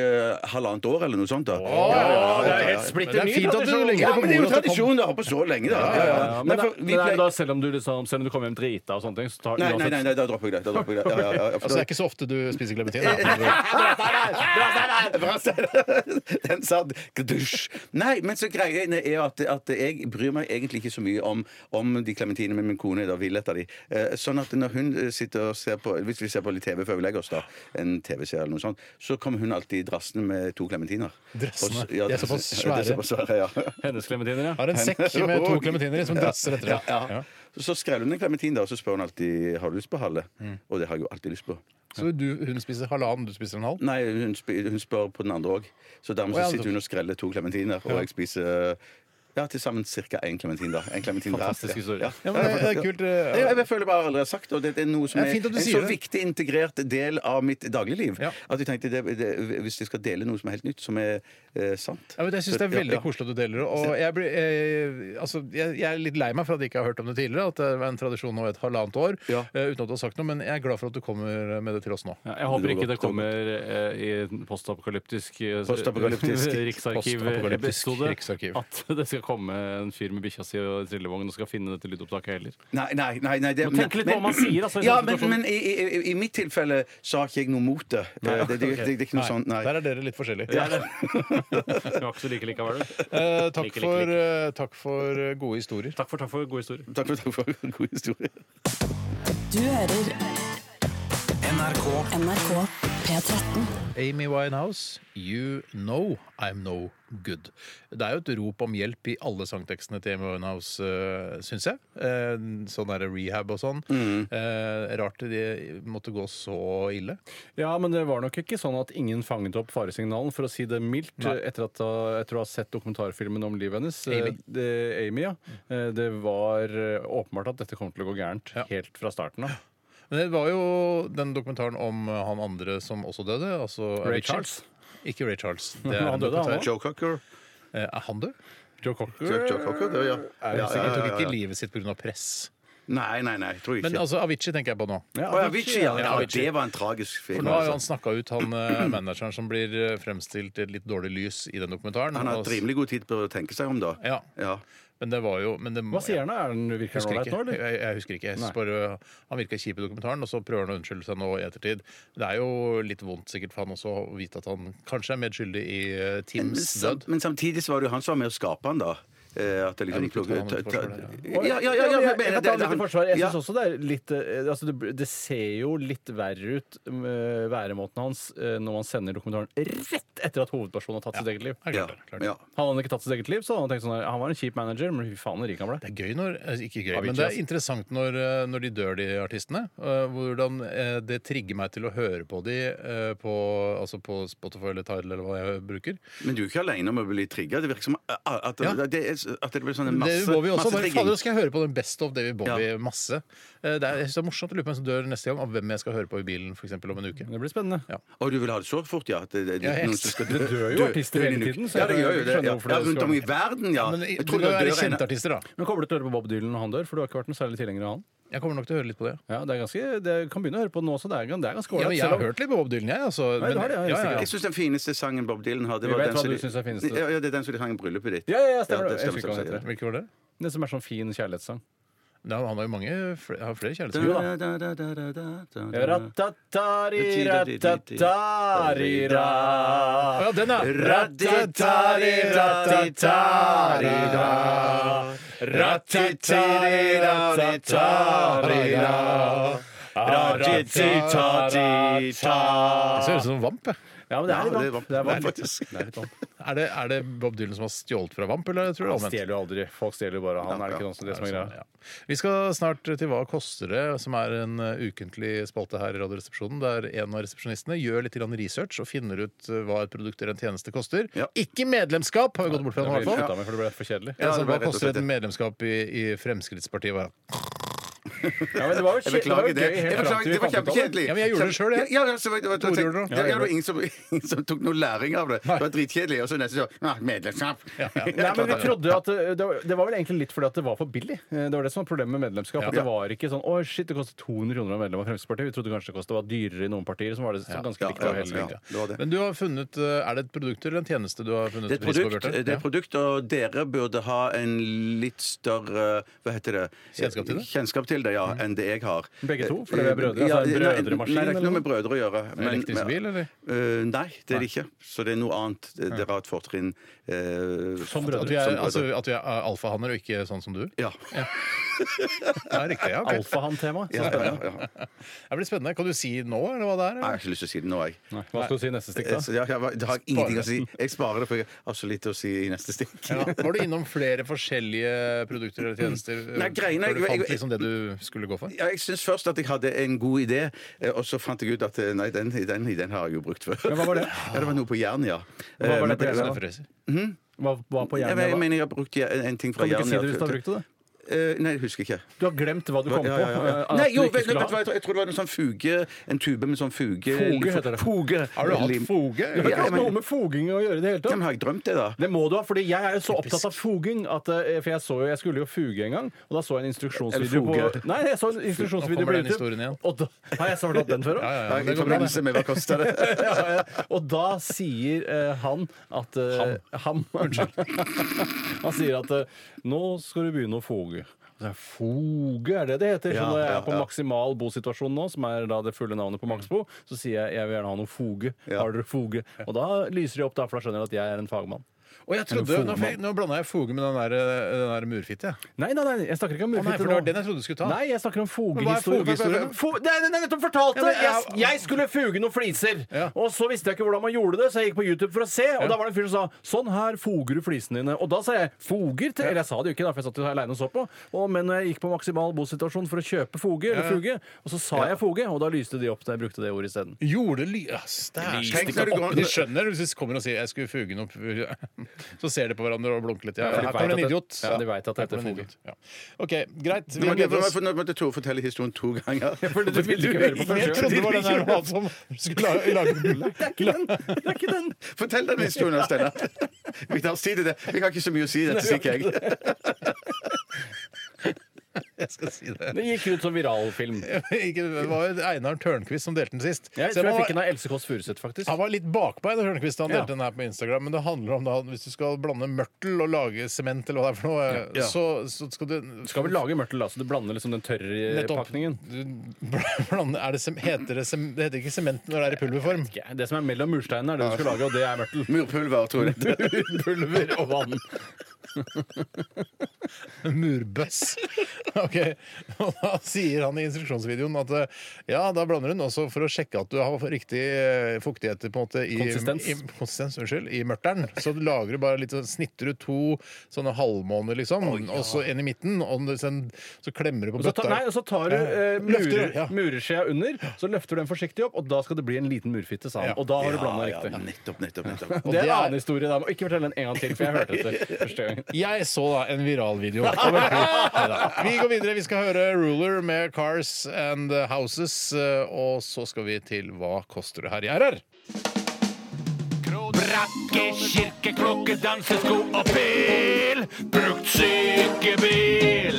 halvannet år eller noe sånt. da. Det er helt Det splitter er ny fint at du tradisjon. legger Ja, det på men det er jo bordet. at det kom- tradisjon å ha på så lenge, da. Ja, ja, ja. Men Nei, for da- vi men det er pleier- da selv om du liksom Selv om du kommer hjem drita og sånne ting, så tar Nei, nei, nei, nei, da dropper jeg det. Da dropper jeg det. Ja, ja, ja, ja, for Altså, det [laughs] er da- ikke så ofte du spiser klementin. da. Bra, Steinar. Den satt Gdusj. Nei, men så greia er at, at jeg bryr meg egentlig ikke så mye om, om de klementinene med min kone da vil etter de. Eh, Sånn at når hun eh, sitter og ser på Hvis vi ser på litt TV før vi legger oss, da, en TV-serie eller noe sånt, så kommer hun alltid drassende med to klementiner. Drassende? Og s- ja, De er såpass ja, [laughs] de er såpass svære, ja. Hennes klementiner, ja. Har en sekk med to klementiner i som drasser etter deg. Ja, Ja. ja. Så skrev hun en klementin, da, og så spør hun alltid har du lyst på halve. Og det har jeg jo alltid lyst på. Så du, hun spiser halvannen, du spiser en halv? Nei, hun, sp hun spør på den andre òg. Så dermed Å, ja, så sitter så- hun og skreller to klementiner, og jeg spiser eh, ja, til sammen ca. én klementin. da. En klementin hver. Fantastisk historie. Ja. Ja, men det- det er kult, eh, Jeg, jeg føler bare aldri har sagt og det. Det er noe som Det er er, fint at du en sier så det. viktig integrert del av mitt dagligliv. Ja. At jeg tenkte det, det, hvis jeg skal dele noe som er helt nytt, som er eh, sant Ja, men jeg synes Det er Så- ja, veldig ja. koselig at du deler det. Og jeg, blir, eh, altså, jeg, jeg er litt lei meg for at jeg ikke har hørt om det tidligere. At det var en tradisjon nå i et halvannet år Ja. eh, uten at du har sagt noe. Men jeg er glad for at du kommer med det til oss nå. Ja, Jeg håper Det var ikke det godt, det var kommer eh, i en postapokalyptisk eh, Postapokalyptisk. [laughs] Postapokalyptisk Riksarkiv-episode Riksarkiv. at [laughs] det skal komme en fyr med bikkja si og trillevogn og skal finne dette lydopptaket heller. Nei, nei, nei, nei det, Må tenke litt på hva man sier, altså, i ja, sånne men, situasjoner. men i, i, i, i mitt tilfelle så har ikke jeg noe mot det. Det, det, det, det, det er ikke noe sånt, nei. Der er dere litt forskjellige. [laughs] Vi var ikke så like likevel. Eh, Like, takk, like, for, like. eh, takk for eh, gode historier. Takk for, takk for gode historier. Takk for, takk for en god historie. Du hører NRK NRK P13. Amy Winehouse, You Know I'm No Good. Det er jo et rop om hjelp i alle sangtekstene til Amy Winehouse, uh, syns jeg. Eh, sånn er det rehab og sånn. Mm. Eh, rart det måtte gå så ille. Ja, men det var nok ikke sånn at ingen fanget opp faresignalen, for å si det mildt, eh, etter at da- etter å ha sett dokumentarfilmen om livet hennes. eh, Amy. Det, Amy ja. Eh, Det var eh, åpenbart at dette kommer til å gå gærent helt fra starten av. Men det var jo den dokumentaren om eh, han andre som også døde. Altså Ray Avicii. Charles. Ikke [laughs] Ray Charles. Det Han en døde, han dokumentar. også. Joe Cocker. Eh, Er han død? Joe Cocker. Joe, Joe Cocker, det, ja. Ja, Han ja, tok ja, ja. ikke livet sitt pga. press. Nei, nei, nei, tror jeg Men ikke. altså, Avicii tenker jeg på nå. Ja, Å ja, Avicii, ja. Ja, ja. Avicii. Det var en tragisk For film. nå har jo han Altså. snakka ut han eh, manageren som blir eh, fremstilt i et litt dårlig lys i den dokumentaren. Han har Og- hatt rimelig god tid på å tenke seg om, da. sånn Ja. Ja. Men det var jo men det, Hva sier han da? Er den Jeg virker han husker ålreit ikke. nå, eller? Jeg, jeg husker ikke. Jeg synes bare, han virka kjip i dokumentaren, og så prøver han å unnskylde seg nå i ettertid. Det er jo litt vondt sikkert for han også å vite at han kanskje er medskyldig i eh, Men, Tims sam, død. men samtidig så var det jo han som var med å skape han, da. Eh, At det liksom Ja, vi kan ta han ta- litt ta- forsvar der, Ja, ja, ja, ja, men jeg mener jeg, kan ta det- litt i han- forsvar. Jeg Ja. synes også det er litt eh, altså det, det ser jo litt verre ut, eh, væremåten hans, eh, når man sender dokumentaren rett etter at hovedpersonen har tatt sitt eget liv. Det er Ja, klart, det er klart. ja. Hadde han ikke tatt sitt eget liv, så hadde han tenkt sånn her, Han var en kjip manager, men fy faen så rik han ble. Det er gøy når eh, Ikke gøy, men Avicii, det er altså. interessant når, eh, når de dør, de artistene. eh, Hvordan eh, det trigger meg til å høre på de eh, på, altså på Spotify eller Tidal eller hva jeg bruker. Men du er ikke aleine om å bli trigga. Det virker som at, at, Ja. at, det, er, at det blir sånn en Masse, masse, David Bowie også. masse Bare, trigging. fader, skal jeg høre på den Best of David Bowie Ja. masse. Eh, Det er, jeg synes det er morsomt å lure på hvem som dør neste gang, av hvem jeg skal høre på i bilen for eksempel, om en uke. Det blir spennende. Ja. Å, du vil ha det så fort, ja? At det, det, det, Ja, jeg- noen som skal dø. Det dør jo Dø- artister dø i hele en uke. tiden, så Ja, jeg det gjør jo skjønner det. Ja, hvorfor det ja, skal rundt om i være. verden, ja. Men Jeg det tror må det jo være dør en kjente artister, da. Men kommer du til å høre på Bob Dylan når han dør? For du har ikke vært noe særlig tilhenger av han. Jeg kommer nok til å høre litt på det. Ja, det er ganske, det kan begynne å høre på nå også. Det er, det er ganske Ja, ålreit. men jeg selv har om- hørt litt på Bob Dylan, jeg. Altså, du har det, ja, helt Jeg syns den fineste sangen Bob Dylan har, det Vi var vet den hva som du de- synes er fineste. Ja, ja, det er den som de hang i bryllupet ditt. Ja, ja, ja, stemmer det. Jeg stemmer, husker ikke hva den stemmer, Hvilken var det? Det som er sånn fin kjærlighetssang. Nei, han har jo mange flere, har flere kjærlighetsfilmer. stemmer. Da, da, da, da, da, da, da. Ratatari, ratatari, ra. Ja, den, ja! Ratatari, ratatari, ra. Ratatari, ratatari, ra. Ratitati, ta. Det ser ut som en vamp. jeg. Ja, men det er Ja, litt vamp. Det er vamp. faktisk. Det er litt vamp. Er det, er det Bob Dylan som har stjålet fra Vamp, eller tror du det er Han omvendt? stjeler jo aldri. Folk stjeler jo bare han. Er det ikke noe som det som er Sånn, greia? ja. Vi skal snart til Hva koster det?, som er en eh, ukentlig spalte her i Radioresepsjonen, der en av resepsjonistene gjør litt grann research og finner ut eh, hva et produkt eller en tjeneste koster. Ja. Ikke medlemskap, har vi gått bort fra nå i Det hvert fall. slutta med, for det ble for kjedelig. Ja, Ja, så det ble hva rett og koster slett et medlemskap i, i Fremskrittspartiet? Hva? Ja, men det var jo Jeg kje- det var jo beklager det. gøy Jeg helt fram beklager, det var til vi fant ut av det. kjempekjedelig. Ja, men jeg gjorde det selv, jeg. Ja, ja, så var det- det var- Hvor gjorde du det? Ja, det var ingen som, ingen som tok noe læring av det. Det var dritkjedelig. Og så neste så ah, Medlemskap. Nei, men vi trodde at eh, det var, det var vel egentlig litt fordi at det var for billig. Eh, Det var det som var problemet med medlemskap. At det var ikke sånn å shit, det kostet 200 kroner å være medlem av Fremskrittspartiet. Vi trodde kanskje det kostet det var dyrere i noen partier. Som var det så ganske likt. og helt likt. Men du har funnet eh, Er det et produkt eller en tjeneste du har funnet Det er, et Altså pris på, produkt, Bjarte? det er et produkt, og dere burde ha en litt større Hva heter det? Kjennskap til det? Mm. Kjennskap til det, ja, enn det jeg har. Eh, Begge to? For dere er brødre? Ja, Altså en nei, brødremaskin, Nei, det er ikke noe eller med brødre å gjøre. elektrisk bil, eller? Eh, nei, det er det ikke. Så det er noe annet. Dere har et fortrinn eh, Som brødre. At vi er, Som altså, brødre. at vi er eh, alfahanner og ikke sånn som du? Ja. Ja, riktig. Ja, ok. Alfahann-tema. Ja, ja, ja, ja. Det blir spennende. Kan du si nå, eller hva det Nei, er? jeg Eller? har ikke lyst til å si det nå, jeg. Nei, Hva skal du si i neste stikk, Eh, da? så jeg, jeg, det har jeg ingenting å si. Jeg sparer det, for jeg har så lite å si i neste stikk. Ja. [laughs] Var du innom flere forskjellige produkter eller tjenester eh, Nei, greiene- før du jeg- jeg- fant liksom det du skulle gå for? Ja, jeg syns først at jeg hadde en god idé, eh, og så fant jeg ut at eh, nei, den, den, den har jeg jo brukt før. Men hva var det? [laughs] Ja, det var noe på jern, ja. Hva var Eh, men det på det- Jernia? Det frøs i. Hva, hva på Jeg, hjernen? men- jeg hva- mener jeg har brukt je- en, en ting fra Kan du ikke jern. Eh, si det hvis du har brukt det? da? nei, jeg husker ikke. Du har glemt hva du kom Ja, ja, på. ja, ja. eh, at Nei, du jo, ikke vet, vet du skulle ha. hva, jeg tror- jeg tror det var en sånn fuge En tube med sånn fuge Foge heter det. Foge. Har du hatt Lim- foge? Det har ikke Ja, hatt men- noe med foging å gjøre i det hele Ja, tatt. men har jeg drømt det, da? Det må du ha, fordi jeg er jo så opptatt av foging. At, eh, for jeg, så jo, jeg skulle jo fuge en gang, og da så jeg en instruksjonsvideo Eller på foge. Nei, jeg så en instruksjonsvideo Nå på kommer den YouTube. historien igjen. Og da, har jeg fortalt den før òg? Ja, Ja, ja, I det går bra, det. forbindelse med hva koster [laughs] det? Ja, [laughs] ja. Og da sier eh, han at eh, [laughs] Ham. Unnskyld. han sier at eh, nå skal du begynne å foge. Så jeg, Foge, er det det heter? Ja, så når jeg ja, er på ja. maksimal bosituasjon nå, som er da det fulle navnet på Maxbo, så sier jeg jeg vil gjerne ha noe foge. Ja. Har dere foge? Og da lyser de opp, da, for da skjønner de at jeg er en fagmann. Og jeg trodde, nå, fikk- nå blanda jeg foge med den der, eh, den der murfitte. jeg. Nei, nei, nei, jeg snakker ikke om Å nei, murfitte for det var den jeg trodde du skulle ta. Nei, jeg snakker om Men hva fogehistorien. er fogehistorien? Fo det er den jeg nettopp fortalte! Ja, men jeg- jeg, jeg skulle fuge noen fliser, Ja. og så visste jeg ikke hvordan man gjorde det, så jeg gikk på YouTube for å se, og da var det en fyr som sa 'Sånn her foger du flisene dine'. Og da sa jeg 'foger' til Eller jeg sa det jo ikke, da, for jeg satt jo her aleine og så på, og, men når jeg gikk på maksimal bosituasjon for å kjøpe foge, eller fuge, og så sa jeg foge, og da lyste de opp da jeg brukte det ordet isteden. Gjorde ly... Ass, det er Tenk når stikker du opp. går- De skjønner hvis de kommer og sier 'jeg skulle fuge noe [laughs] Så ser de på hverandre og blunker litt. Ja, for de her vet kommer en at det- idiot. ja, de vet at Her det heter kommer en foge. idiot. Ja. OK, greit. Vi Men det gleder var- oss. for Nå måtte Tore fortelle historien to ganger. For du ville ikke høre på Jeg første trodde det [laughs] var den der han som skulle lage, lage Det er ikke den! Fortell den historien, [laughs] Steinar. Vi tar oss tid til det. Vi har ikke så mye å si i dette stikket, jeg. Jeg skal si det. Det gikk ut som viralfilm. [laughs] Ikke, det var jo Einar Tørnquist som delte den sist. Jeg Så tror jeg må- fikk den av Else Kåss Furuseth, faktisk. Han var litt bakpå Einar Tørnquist da han Ja. delte den her på Instagram. Men det handler om da hvis du skal blande mørtel og lage sement eller hva det er for noe, så, så skal du Skal vel lage mørtel, da, så du blander liksom den tørre Nettopp. pakningen. Du [laughs] blande, er det sem, heter det, sem, det heter ikke sement når det er i pulverform. Ja, Det som er mellom mursteinene, er det du skal lage, og det [laughs] er mørtel. Murpulver, tror jeg. Pulver og vann. Murbøss. Ok, Og da sier han i instruksjonsvideoen at eh, ja, da blander hun også for å sjekke at du har riktig eh, fuktighet på en måte i, Konsistens. i, konsistens, unnskyld, i mørteren. Så du lager du bare litt sånn, snitter du to sånne halvmåner, liksom, og så en i midten, og du- sen, så klemmer du på Og så, ta, bøtta. nei, og så tar du eh, Løfter murer, du, ja. mureskjea under, så løfter du den forsiktig opp, og da skal det bli en liten murfitte, sa han. Og da har du blanda Ja, ja, riktig. nettopp, nettopp, [laughs] nettopp. Det er det en er- annen historie. Da. Ikke fortell den en gang til, for jeg hørte etter første gangen. Jeg så da en viralvideo. Neida. Vi går videre. Vi skal høre Ruler med Cars and Houses. eh, Og så skal vi til Hva koster det her? Jeg er her! Brakke, kirke, klokke, dansesko og bil. Brukt sykebil.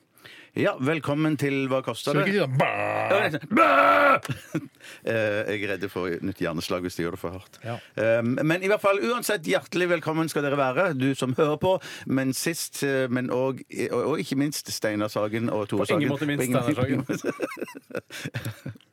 Ja, velkommen til Hva koster det? sånn Ja, bæ- det er sånn, «Bæ!» [laughs] Eh, Jeg er redd for nytt hjerneslag hvis de gjør det for hardt. Um, Men i hvert fall, uansett, hjertelig velkommen skal dere være, du som hører på. Men sist, eh, men òg og, og ikke minst Steinar Sagen og Tore På Sagen. ingen måte minst På ingen- Steinar Sagen. [laughs]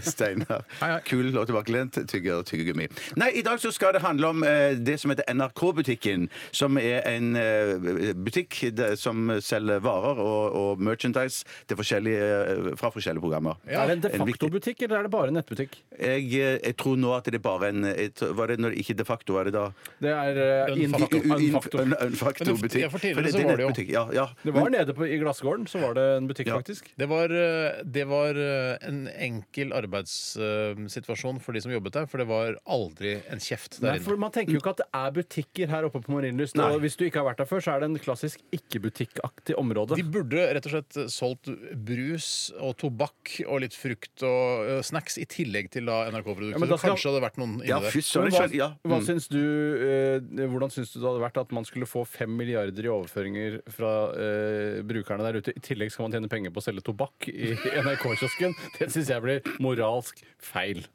Steinar. Kul og tilbakelent, tygger og tyggegummi. Nei, i dag så skal det handle om eh, det som heter NRK-butikken. Som er en eh, butikk der- som selger varer og, og merchandise til forskjellige, eh, fra forskjellige programmer. Er det en de viktig- facto-butikk, eller er det bare en nettbutikk? jeg, eh, jeg tror nå at det er bare en jeg tror- Var det når, ikke de facto, var det da? Det er eh, Un- in facto. un- Un facto. un- un facto butikk. Ja, for tidligere det- så det er var det jo. nettbutikk, Ja, ja. Det var Men- nede på, i Glassgården, så var det en butikk, Ja. faktisk. Det var, eh, det var eh, en enkel arbeidssituasjon for de som jobbet der, for det var aldri en kjeft der Nei, for inne. Man tenker jo ikke at det er butikker her oppe på Marienlyst. Nei. Og hvis du ikke har vært der før, så er det en klassisk ikke-butikkaktig område. De burde rett og slett solgt brus og tobakk og litt frukt og eh, snacks i tillegg til da Ja, NRK-produkter. men da skal- Kanskje hadde vært noen inni der. Men Men hva- hva, hva Mm. syns du, eh, hvordan syns du det hadde vært at man skulle få fem milliarder i overføringer fra eh, brukerne der ute? I tillegg skal man tjene penger på å selge tobakk i NRK-kiosken. [laughs] Det syns jeg blir moralsk feil.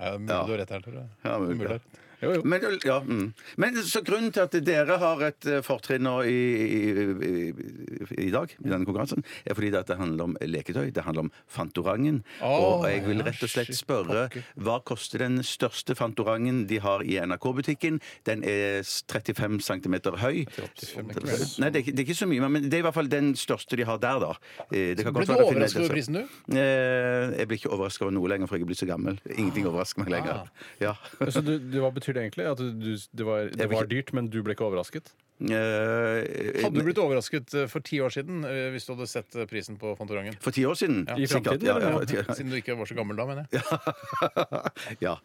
Ja. Du har rett her, tror jeg. Ja, men, Mulig. Men, ja, mm. men så grunnen til at dere har et eh, fortrinn nå i, i, i, i dag, i denne konkurransen, er fordi det at det handler om leketøy. Det handler om Fantorangen. Åh, og jeg vil rett og slett spørre hva koster den største Fantorangen de har i NRK-butikken? Den er s- 35 cm høy. Nei, det er, ikke- det er ikke så mye, men det er i hvert fall den største de har der, da. Eh, Det kan Ble godt du være jeg finner overrasket over det- prisen, du? Eh, Jeg blir ikke overraska over noe lenger, for jeg er blitt så gammel. Ah. Ingenting overrasker meg lenger. Ja. Så du, du, hva betyr det egentlig? At du, det, var, det Jeg vil var ikke- dyrt, men du ble ikke overrasket? Eh, Hadde du blitt overrasket eh, for ti år siden eh, hvis du hadde sett eh, prisen på [laughs] Fantorangen? For ti år siden? Ja. I sikkert. fremtiden, Ja, eller? ja, for ti år- Siden du ikke var så gammel da, mener jeg. ja.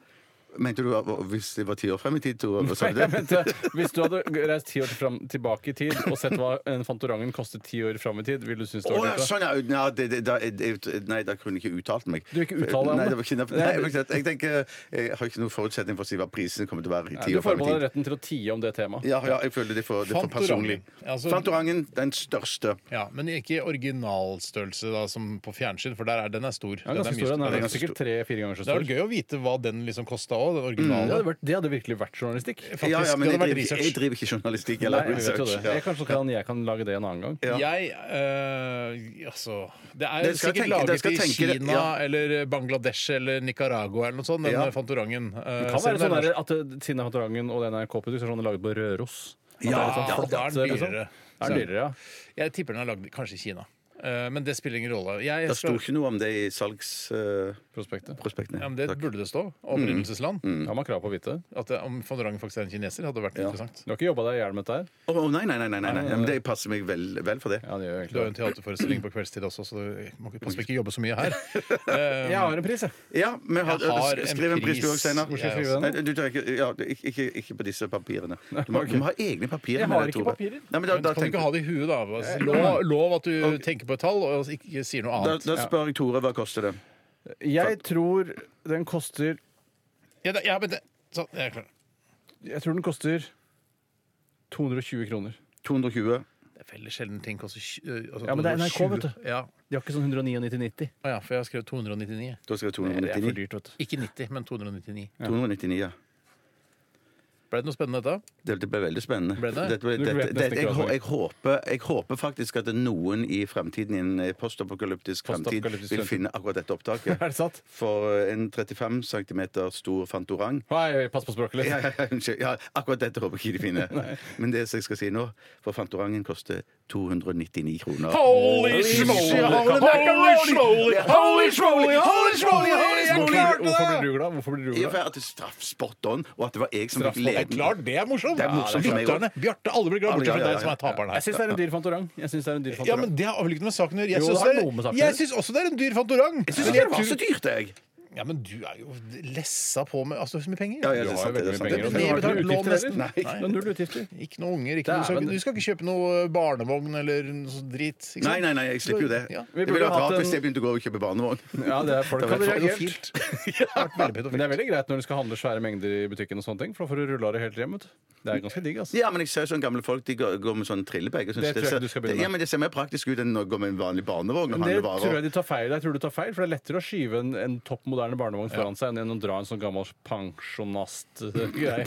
Mente du at- hvis det var ti år frem i tid? Tore, hva sa du Nei, jeg det? mente, hvis du hadde reist ti år fram, tilbake i tid og sett hva en Fantorangen kostet ti år fram i tid, ville du synes det Å var ja, dyrt? da? sånn, ja. ja det, det, da, det- nei, da kunne jeg ikke uttalt meg. Du vil ikke uttale deg om Nei, det det? var ikke, nei, jeg, vet ikke, jeg tenker Jeg har ikke noen forutsetning for å si hva prisene kommer til å være i Nei, ti Du år frem i forbeholder tid. retten til å tie om det temaet. Ja, ja, jeg føler det er for, det er for personlig. Fantorangen. Altså- Fantorangen, den største. Ja, Men ikke originalstørrelse da, som på fjernsyn, for der er, den er stor. Den er Den er ganske mye stor. Den stor. er Den er ganske sikkert tre-fire ganger så Det stor. hadde vært gøy å vite hva den liksom kosta òg, den Det originale. hadde, vært, det hadde virkelig vært journalistikk. Faktisk, ja, ja, men det jeg hadde vært driver, research. jeg driver ikke journalistikk Nei, eller jeg vet jo det. research. Jeg, kanskje kan, jeg kan lage det en annen gang. Ja. Jeg eh, Altså Det er Dere skal sikkert tenke- dere laget skal i tenke det- Kina ja. eller Bangladesh eller Nicaragua eller noe sånt, den Ja. Fantorangen. Eh, Det kan være selv sånn om det er der at eh, Siden Fantorangen og den NRK-produktet er sånn laget på Røros. At Ja, det er litt sånn ja, da er den flatt, liksom. dyrere. Da Er den dyrere, ja. norsk. Jeg tipper den er lagd kanskje i Kina. Eh, men det spiller ingen rolle. Jeg Det sto skal- ikke noe om det i eh, salgsprospektene. Prospektet. ja, men det burde det stå. Opprinnelsesland. Mm. Har man krav på å vite? At det, om Fantorangen faktisk er en kineser, hadde vært interessant. Du har ikke jobba deg i hjel med dette her? Å, å, nei, nei, nei, nei, nei, nei. Men det passer meg vel, vel for det. Ja, det gjør jeg Du har jo egentlig en teaterforestilling på kveldstid også, så du må ikke, pass på ikke å jobbe så mye her. eh, det. Jeg har en pris, jeg. Ja, men har, Jeg har en skriv en pris du òg, pris. Steinar. Hvor skal jeg skrive den? Nei, Du tar ikke, ja, ikke, ikke, ikke på disse papirene. Du må, ok. du må ha egne papirer. Jeg med har deg, ikke Tore. papirer. Nei, men da, Men da, kan du tenker- ikke ha det i huet, da? Altså, Lov, lov at du tenker på et tall, og altså ikke sier noe da, annet. da spør jeg Tore hva koster det Jeg tror den koster Ja, da, ja men det Sånn, jeg er klar. Jeg tror den koster 220 kroner. 220. Det er veldig sjelden ting koster tj- øh, altså, Ja, men det er NRK, 220. vet du. Ja. De har ikke sånn 199,90. Å ja, for jeg har skrevet 299. Da skal jeg Det er for 299. dyrt, vet du. Ikke 90, men 299. 299, ja. Ble det noe spennende dette? Det det ble veldig spennende. Ble det? Dette ble- Du vet dette- nesten dette- jeg, ikke hva hå- det er. jeg, håper, jeg håper faktisk at noen i fremtiden, i en eh, postapokalyptisk fremtid, Postapokalyptisk vil fremtid. finne akkurat dette opptaket. Er det sant? For en 35 cm stor fantorang Nei, pass på språket litt. Ja, [laughs] ja, ja, unnskyld. Ja, akkurat dette håper jeg ikke de finner. Men det som jeg skal si nå, for Fantorangen koster 299 kroner. Holy schmoly, holy schmoly, holy schmoly, holy Hvorfor blir du- Hvorfor blir du glad? Hvorfor blir du I og glad? for at det er straff spot on, og at det var jeg som fikk Det er leden. klart det er morsomt! Det er morsomt for meg Lytterne. Bjarte, alle blir glad, Alle, ja, ja, bortsett fra ja, deg som ja. er taperen Jeg her. syns det er en dyr Fantorang. Jeg synes det er en dyr Ja, Fantorang. men Det har vel ikke noe med saken å gjøre. Jeg Jo, syns det har det noe med er- saken å Jeg gjøre. syns også det er en dyr fantorang. Jeg syns Men det jeg var tror- så dyrt, jeg. Ja, men du er jo lessa på med altså, så mye penger. Ja, ja, det Du er sant, har jo det er veldig mye sant. penger. og Det Du er har nedbetalt null lån utgifter, nesten. eller? Nei. Du har null utgifter. Ikke noe unger. Ikke noe, Dæven. du, skal, du skal ikke kjøpe noe barnevogn eller noe sånt drit. Ikke Nei, nei, nei, jeg slipper jo det. Ja. Det ville burde vært rart hatt hvis en- jeg begynte å gå og kjøpe barnevogn. Ja, det er folk Det hadde hadde vært reagert. Vært veldig Men det pedofilt. er veldig greit når du skal handle svære mengder i butikken, og sånne ting, for da får du rulla det helt hjem. Vet. du. Det er ganske digg, altså. Ja, men jeg ser sånne gamle folk de går, går med sånn trillebag. og synes Det tror jeg ser- ikke du skal begynne Ja, med. men det ser mer praktisk ut enn å gå med en vanlig barnevogn og Men det handle tror varer. jeg de tar feil. Jeg tror du tar feil, for det er lettere å skyve en, en topp moderne barnevogn foran seg enn å dra en sånn gammel pensjonast-greie.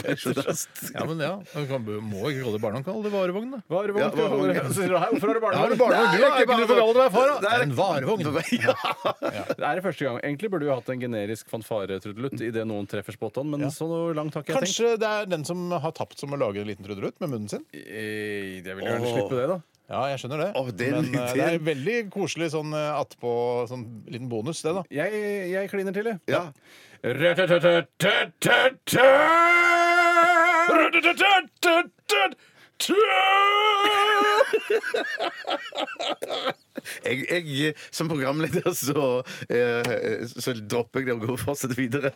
Ja, men ja, man kan, må ikke kalle det barnevogn, kall det varevogn, da. Varevogn, skal vi kalle det. Så sier du, «Hei, Hvorfor har du Ja, har du barnevogn? Nei, barnevogn? Du er ikke ikke noe barnevogn. for gammel, du er far, da. Det er en varevogn. Det er det første gang. Egentlig burde vi hatt en generisk fanfare-trudelutt idet noen treffer spot on, men så langt har ikke jeg tenkt. Kanskje det er den som har tapt som å lage en liten trudelutt med munnen sin? Eh, Jeg vil gjerne slippe det, da. Ja, jeg skjønner det. Å, den- Men eh, den- det er veldig koselig sånn eh, attpå sånn liten bonus, det, da. Jeg, jeg kliner til, jeg. Ja. Jeg, jeg, som programleder så, eh, så dropper jeg det og går fortsatt videre.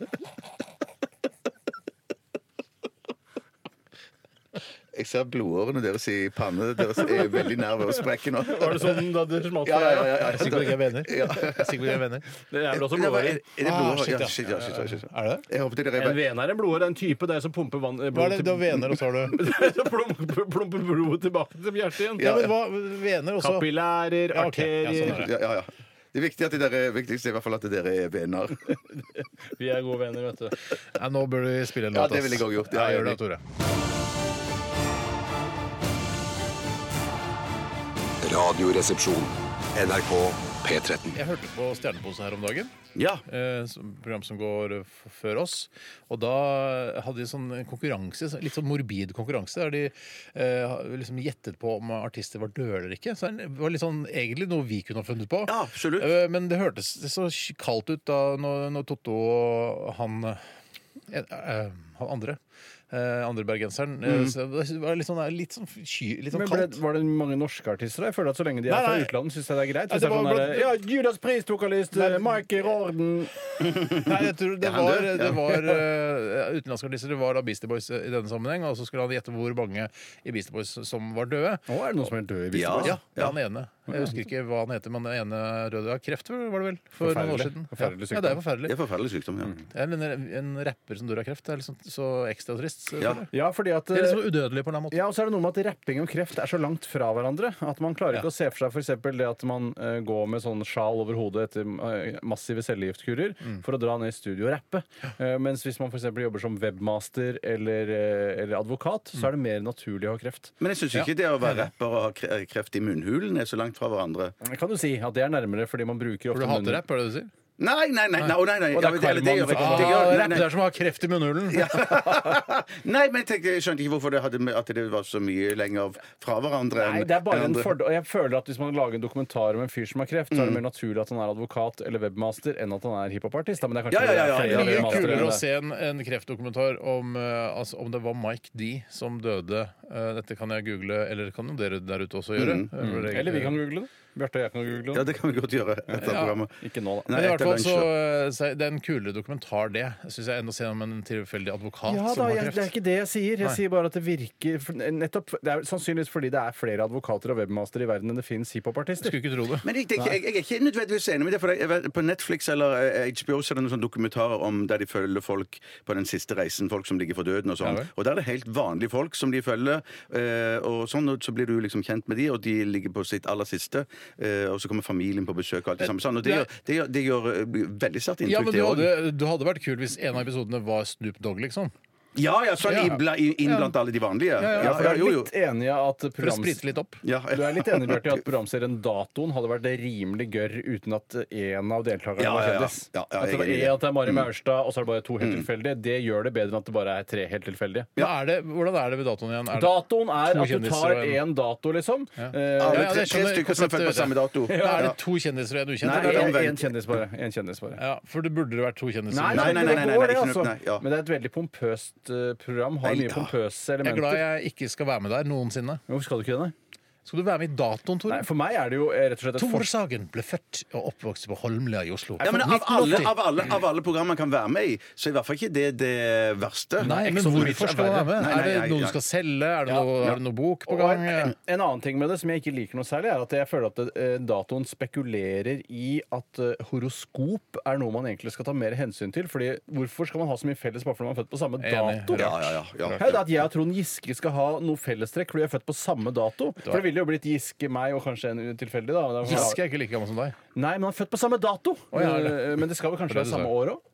Jeg ser blodårene deres i panne. Deres er veldig nær ved å sprekke nå. Var det sånn da det smalt Ja, for ja, deg? ja, ja. Jeg er sikker på at jeg er venner. Ja. Jeg er sikker på at jeg er venner. da? Det er vel også Det var- Er blodårer. er det Ah, blodårer? shit, Ja, ja. shit, ja, shit, ja, shit. Er det? Jeg håpet det En drev vener er en blodåre. Det er En type det er som pumper vann eh, Hva er det du har til- vener, og så har [laughs] du Så plumper plumper blodet tilbake til hjertet igjen. Ja, men hva Vener også Kapillærer, Ja, ok. Ja, sånn er arterier. det. Ja, ja, ja. Det viktige er at dere, viktigste er i hvert fall at dere er venner. Vi er gode venner, vet du. Nei, Nå bør du spille en Ja, låt. det ass. ville jeg også gjort. Ja, Ja, gjør det, jeg- Tore. Radioresepsjon. NRK P13. Jeg hørte på Stjernepose her om dagen. Ja. eh, som- program som går eh, f- før oss. Og da hadde de sånn konkurranse, så- litt sånn morbid konkurranse, der de eh, ha- liksom gjettet på om artister var døde eller ikke. Så det var litt sånn, egentlig noe vi kunne ha funnet på. Ja, absolutt. Eh, men det hørtes så kaldt ut da når, når Totto og han eh, eh, Han andre. eh, andre bergenseren. Mm. eh, så det var litt sånn, litt sånn, sky, litt sånn Men ble, kaldt. var det mange norske artister der? Jeg føler at så lenge de er Nei, fra nei. utlandet, syns jeg det er greit. Nei, Hvis det det er sånn var der, blant- ja, Judas Priest-vokalist, eh, Mike Rorden Nei, jeg tror det han var, dør, ja. det [laughs] var eh, utenlandske artister. Det var da Beastie Boys eh, i denne sammenheng. Og så skulle han gjette hvor mange i Beastie Boys som var døde. Å, er det noen som er død i Beastie altså, Ja. Boys? Ja, han ene. Jeg husker ikke hva han heter, men den ene røde av kreft var det vel? For noen år Forferdelig. siden. Forferdelig ja. ja, det er Det forferdelig. er forferdelig sykdom, ja. Mm. Jeg mener, en rapper som dør av kreft, det er liksom så ekstra trist. Ja. føler jeg. Ja, fordi at Det eh, er liksom udødelig på en eller annen måte. Ja, og så er det noe med at Rapping om kreft er så langt fra hverandre at man klarer ikke å se for seg for eksempel det at man eh, går med sånn sjal over hodet etter eh, massive cellegiftkurer Mm. for å dra ned i studio og rappe. Eh, mens hvis man for eksempel jobber som webmaster eller, eh, eller advokat, så er det mer naturlig å ha kreft. Men jeg syns ikke det å være rapper og ha kre- kreft i munnhulen er så langt fra hverandre. Kan du si at det er nærmere fordi man bruker Mm. For ofte du hater rapp, er det det du sier? Nei, nei, nei! nei, å, nei, nei. Og Ja, det er men det- det gjør jeg ikke. Karlmann Det gjør- rapp, nei, det nei. er som å ha kreft i munnhulen. Nei, men jeg, tenkte, jeg skjønte ikke hvorfor det hadde, med- at det var så mye lenger fra hverandre. enn- Nei, det er bare enn en andre. fordel. Og jeg føler at hvis man lager en dokumentar om en fyr som har kreft, så er det Mm. mer naturlig at han er advokat eller webmaster enn at han er hiphopartist. da. Men det er kanskje Ja, ja, ja, ja. fordi det er flere Mye webmastere enn kulere å det. se en, en kreftdokumentar om, eh, altså, om det var Mike D som døde. Eh, dette kan jeg google, eller kan jo dere der ute også Mm. gjøre. Eh, for det- Eller vi kan google det. Bjarte og jeg kan google Ja, det. det kan vi godt gjøre etter programmet. Ikke nå, da. Nei, Men i hvert etter fall lunsj, så, da. eh, så er det en kulere dokumentar, det. Syns jeg, enn å se om en tilfeldig advokat Ja da, som har jeg, det er kreft. ikke det jeg sier. Jeg Nei. sier bare at det virker for- nettopp, Det er sannsynligvis fordi det er flere advokater og webmastere i verden enn det finnes hiphopartister. Skulle ikke tro det. Men jeg, tenker, jeg, jeg er ikke nødvendigvis enig med det. For jeg vet, på Netflix eller eh, HBO så er det noen sånne dokumentarer om der de følger folk på den siste reisen, folk som ligger for døden og sånn. Ja vel. og der er det helt vanlige folk som de følger. eh, og sånn, og så blir du liksom kjent med de, og de ligger på sitt aller siste. eh, og så kommer familien på besøk og alt det samme. Sånn, og det gjør, det gjør, det gjør eh, veldig sterkt Eh, Ja, inntrykk, det men du òg. hadde, du hadde vært kul hvis en av episodene var Snoop Dogg, liksom. Ja, ja, sånn Ja. Ibla, i- inn blant alle de vanlige. Ja, Ja, for ja, jeg er jo, jo. litt enig i at For å programs- sprite litt opp. Ja, Du er litt enig, Bjarte, [laughs] i at programserien Datoen hadde vært rimelig gørr uten at én av deltakerne Ja, var ja, ja. kjendis. Ja, ja, at, jeg er enig Mm. i det var en, det. at det er Mari Maurstad, og så er det bare to helt tilfeldige. Det gjør det bedre enn at det bare er tre helt tilfeldige. Men Er det, hvordan er det ved datoen igjen? Er det, Datoen er at To du kjendiser tar og en- én dato, liksom. Eh, Alle Ja, ja, tre, det tre skjønner jeg stykker som er født på konseptet, samme dato. [laughs] er det to kjendiser og en ukjent? Nei, eller er det- omvendt. en kjendis bare. En kjendis bare. Ja, for det burde det vært to kjendiser. Nei, Nei, nei, nei, nei, det nei, går nei, det, ikke noe- altså. nei, ja. Men det er et veldig pompøst eh, program. Har Nei, ja. mye pompøse Jeg er glad elementer. jeg ikke skal være med der noensinne. Hvorfor skal du ikke det? nei? Skal du være med i datoen, Tore? Nei, for meg er det jo eh, rett og slett et Tore forsøk. Sagen ble født og oppvokst på Holmlia i Oslo. Ja, men av 1980. alle, av, alle, av alle program man kan være med i, så er i hvert fall ikke det det verste. Nei, men Exo Beach hvorfor er skal du verre. være med? Nei, nei, nei, er det noe nei. du skal selge? Er det, noe, er det noe bok på Og gang? en, en annen ting med det som jeg ikke liker noe særlig, er at jeg føler at eh, datoen spekulerer i at eh, horoskop er noe man egentlig skal ta mer hensyn til. Fordi hvorfor skal man ha så mye felles bare fordi man er født på samme Enig. dato? Ja, ja, ja, ja. Hei, det er at jeg og Trond Giske skal ha noe fellestrekk fordi vi er født på samme dato. For det ville jo blitt Giske, meg og kanskje en tilfeldig, da. Giske er ikke like gammel som deg. Nei, men han er født på samme dato. ja, er det? Eh, Men det skal vel kanskje Det er være det du samme sa. år òg?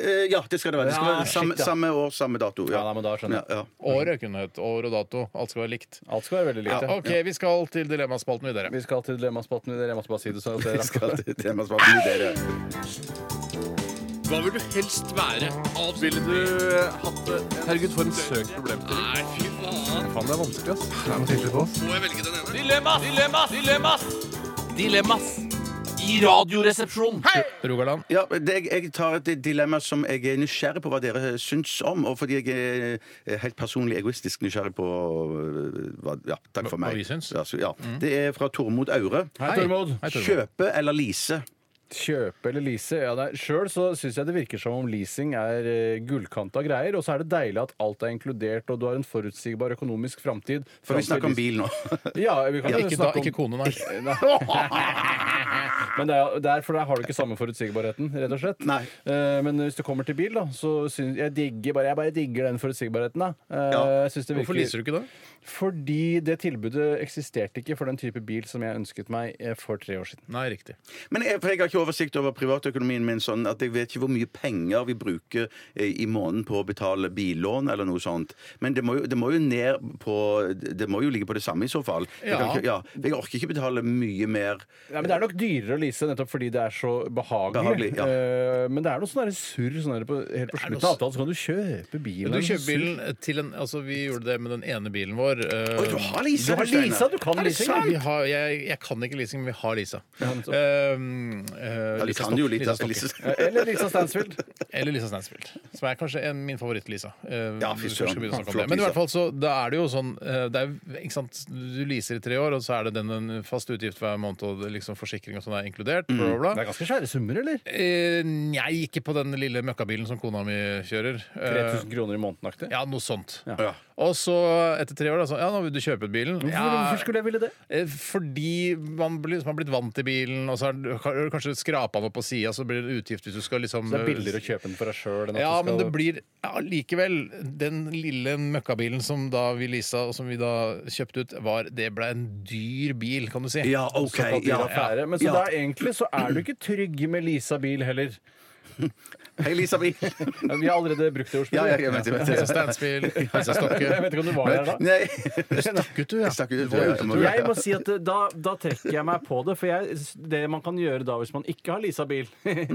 Eh, ja, det skal det være. Det skal Ja, være shit, samme, ja. samme år, samme dato. Ja, nei, men da skjønner jeg. [laughs] Ja, ja. År, økenhet, år og dato. Alt skal være likt. Alt skal være veldig likt. Ja, ok, vi skal til dilemmaspalten videre. Vi skal til dilemmaspalten videre. Jeg måtte bare si det. Så at jeg Vi skal rakk det. til temasvarten videre. Hva vil du helst være? Ville du hatt det? Herregud, for en søk problemstilling. Nei, fy faen. Faen, det er vanskelig, ass. Må jeg velge den ene? Dilemmas! Dilemmas! Dilemmas! Dilemmas i Radioresepsjonen. Hei! Rogaland? Ja, det, jeg, jeg tar et dilemma som jeg er nysgjerrig på hva dere syns om. Og fordi jeg er helt personlig egoistisk nysgjerrig på øh, hva, ja, takk for meg. hva vi syns? Mm. Ja, så, ja. Det er fra Tormod Aure. Hei, Tormod. Hei, Tormod. Kjøpe eller lease? Kjøpe eller lease? Ja, nei, Sjøl så syns jeg det virker som om leasing er eh, gullkanta greier. Og så er det deilig at alt er inkludert, og du har en forutsigbar økonomisk framtid. For vi snakker om bil nå. Ja, vi kan Ja, jo ikke, da, snakke om ikke kone, nei. [laughs] [laughs] Men det er, det er, for der har du ikke samme forutsigbarheten, rett og slett. Nei. Eh, men hvis du kommer til bil, da, så syns jeg digger bare, jeg bare digger den forutsigbarheten. da. Eh, Ja. jeg synes det Hvorfor virker- leaser du ikke da? Fordi det tilbudet eksisterte ikke for den type bil som jeg ønsket meg eh, for tre år siden. Nei, riktig. Men jeg, for jeg har ikke oversikt over privatøkonomien min sånn at jeg vet ikke hvor mye penger vi bruker eh, i måneden på å betale billån eller noe sånt. Men det må jo, det må jo ned på Det må jo ligge på det samme i så fall. Jeg, kan Ja. ikke, ja, jeg orker ikke betale mye mer. Nei, men Det er nok dyrere å lease nettopp fordi det er så Behagelig, behagelig. ja. Eh, men det er noe sånn der surr sånn der på, helt på noe slutten av avtalen, så kan du kjøpe bilen. Du kjøper bilen til en Altså, vi gjorde det med den ene bilen vår. eh, Oi, du har leasa! Du har leasa, du kan Er det leasing. sant? Vi har, jeg, jeg kan ikke leasing, men vi har leasa. nettopp. Um, eh, du Lisa kan jo Stokke- litt altså, Lisa av Stokke. Lise. Eller Lisa Stansfield. Eller Lisa Stansfield. Som er kanskje en, min favoritt-Lisa. Eh, Ja, fy hvis vi først skal søren. begynne å snakke om Flott det. Men i Lisa. hvert fall så da er det jo sånn eh, det er, jo- ikke sant? Du leaser i tre år, og så er det den en fast utgift hver måned, og det liksom forsikring og sånn er inkludert. Bla, bla, Mm. Det bla. er ganske svære summer, eller? Eh, Nei, ikke på den lille møkkabilen som kona mi kjører. Eh, 3000 kroner i måneden aktig? Ja, noe sånt. Ja. Og så etter tre år da, så, ja, nå vil du kjøpe bilen. Ja, Hvorfor, hvorfor skulle jeg ville det? eh, fordi man blir, man har blitt vant til bilen, og så har du har du kanskje skrapa den opp på sida, så blir det en utgift hvis du skal liksom Så det er billigere å kjøpe den for deg sjøl. Ja, men det blir ja, likevel Den lille møkkabilen som da vi leasa, og som vi da kjøpte ut, var Det ble en dyr bil, kan du si. Ja, OK. Ja. affære. Men så Ja. da egentlig så er du ikke trygg med Lisa bil heller. Hei, Lisa Brie. Ja, Vi har allerede brukt det Ja, ordspillet. ja, jeg vet, jeg vet. Lisa Stansfield, Lisa Jeg vet Stokke ikke om du var der da. Nei. [laughs] Gutt, du, ja. Jeg stakk ut. Hvor- Ja, jeg må- Jeg må si at eh, da, da trekker jeg meg på det. For jeg, det man kan gjøre da hvis man ikke har [laughs] Lisa-bil,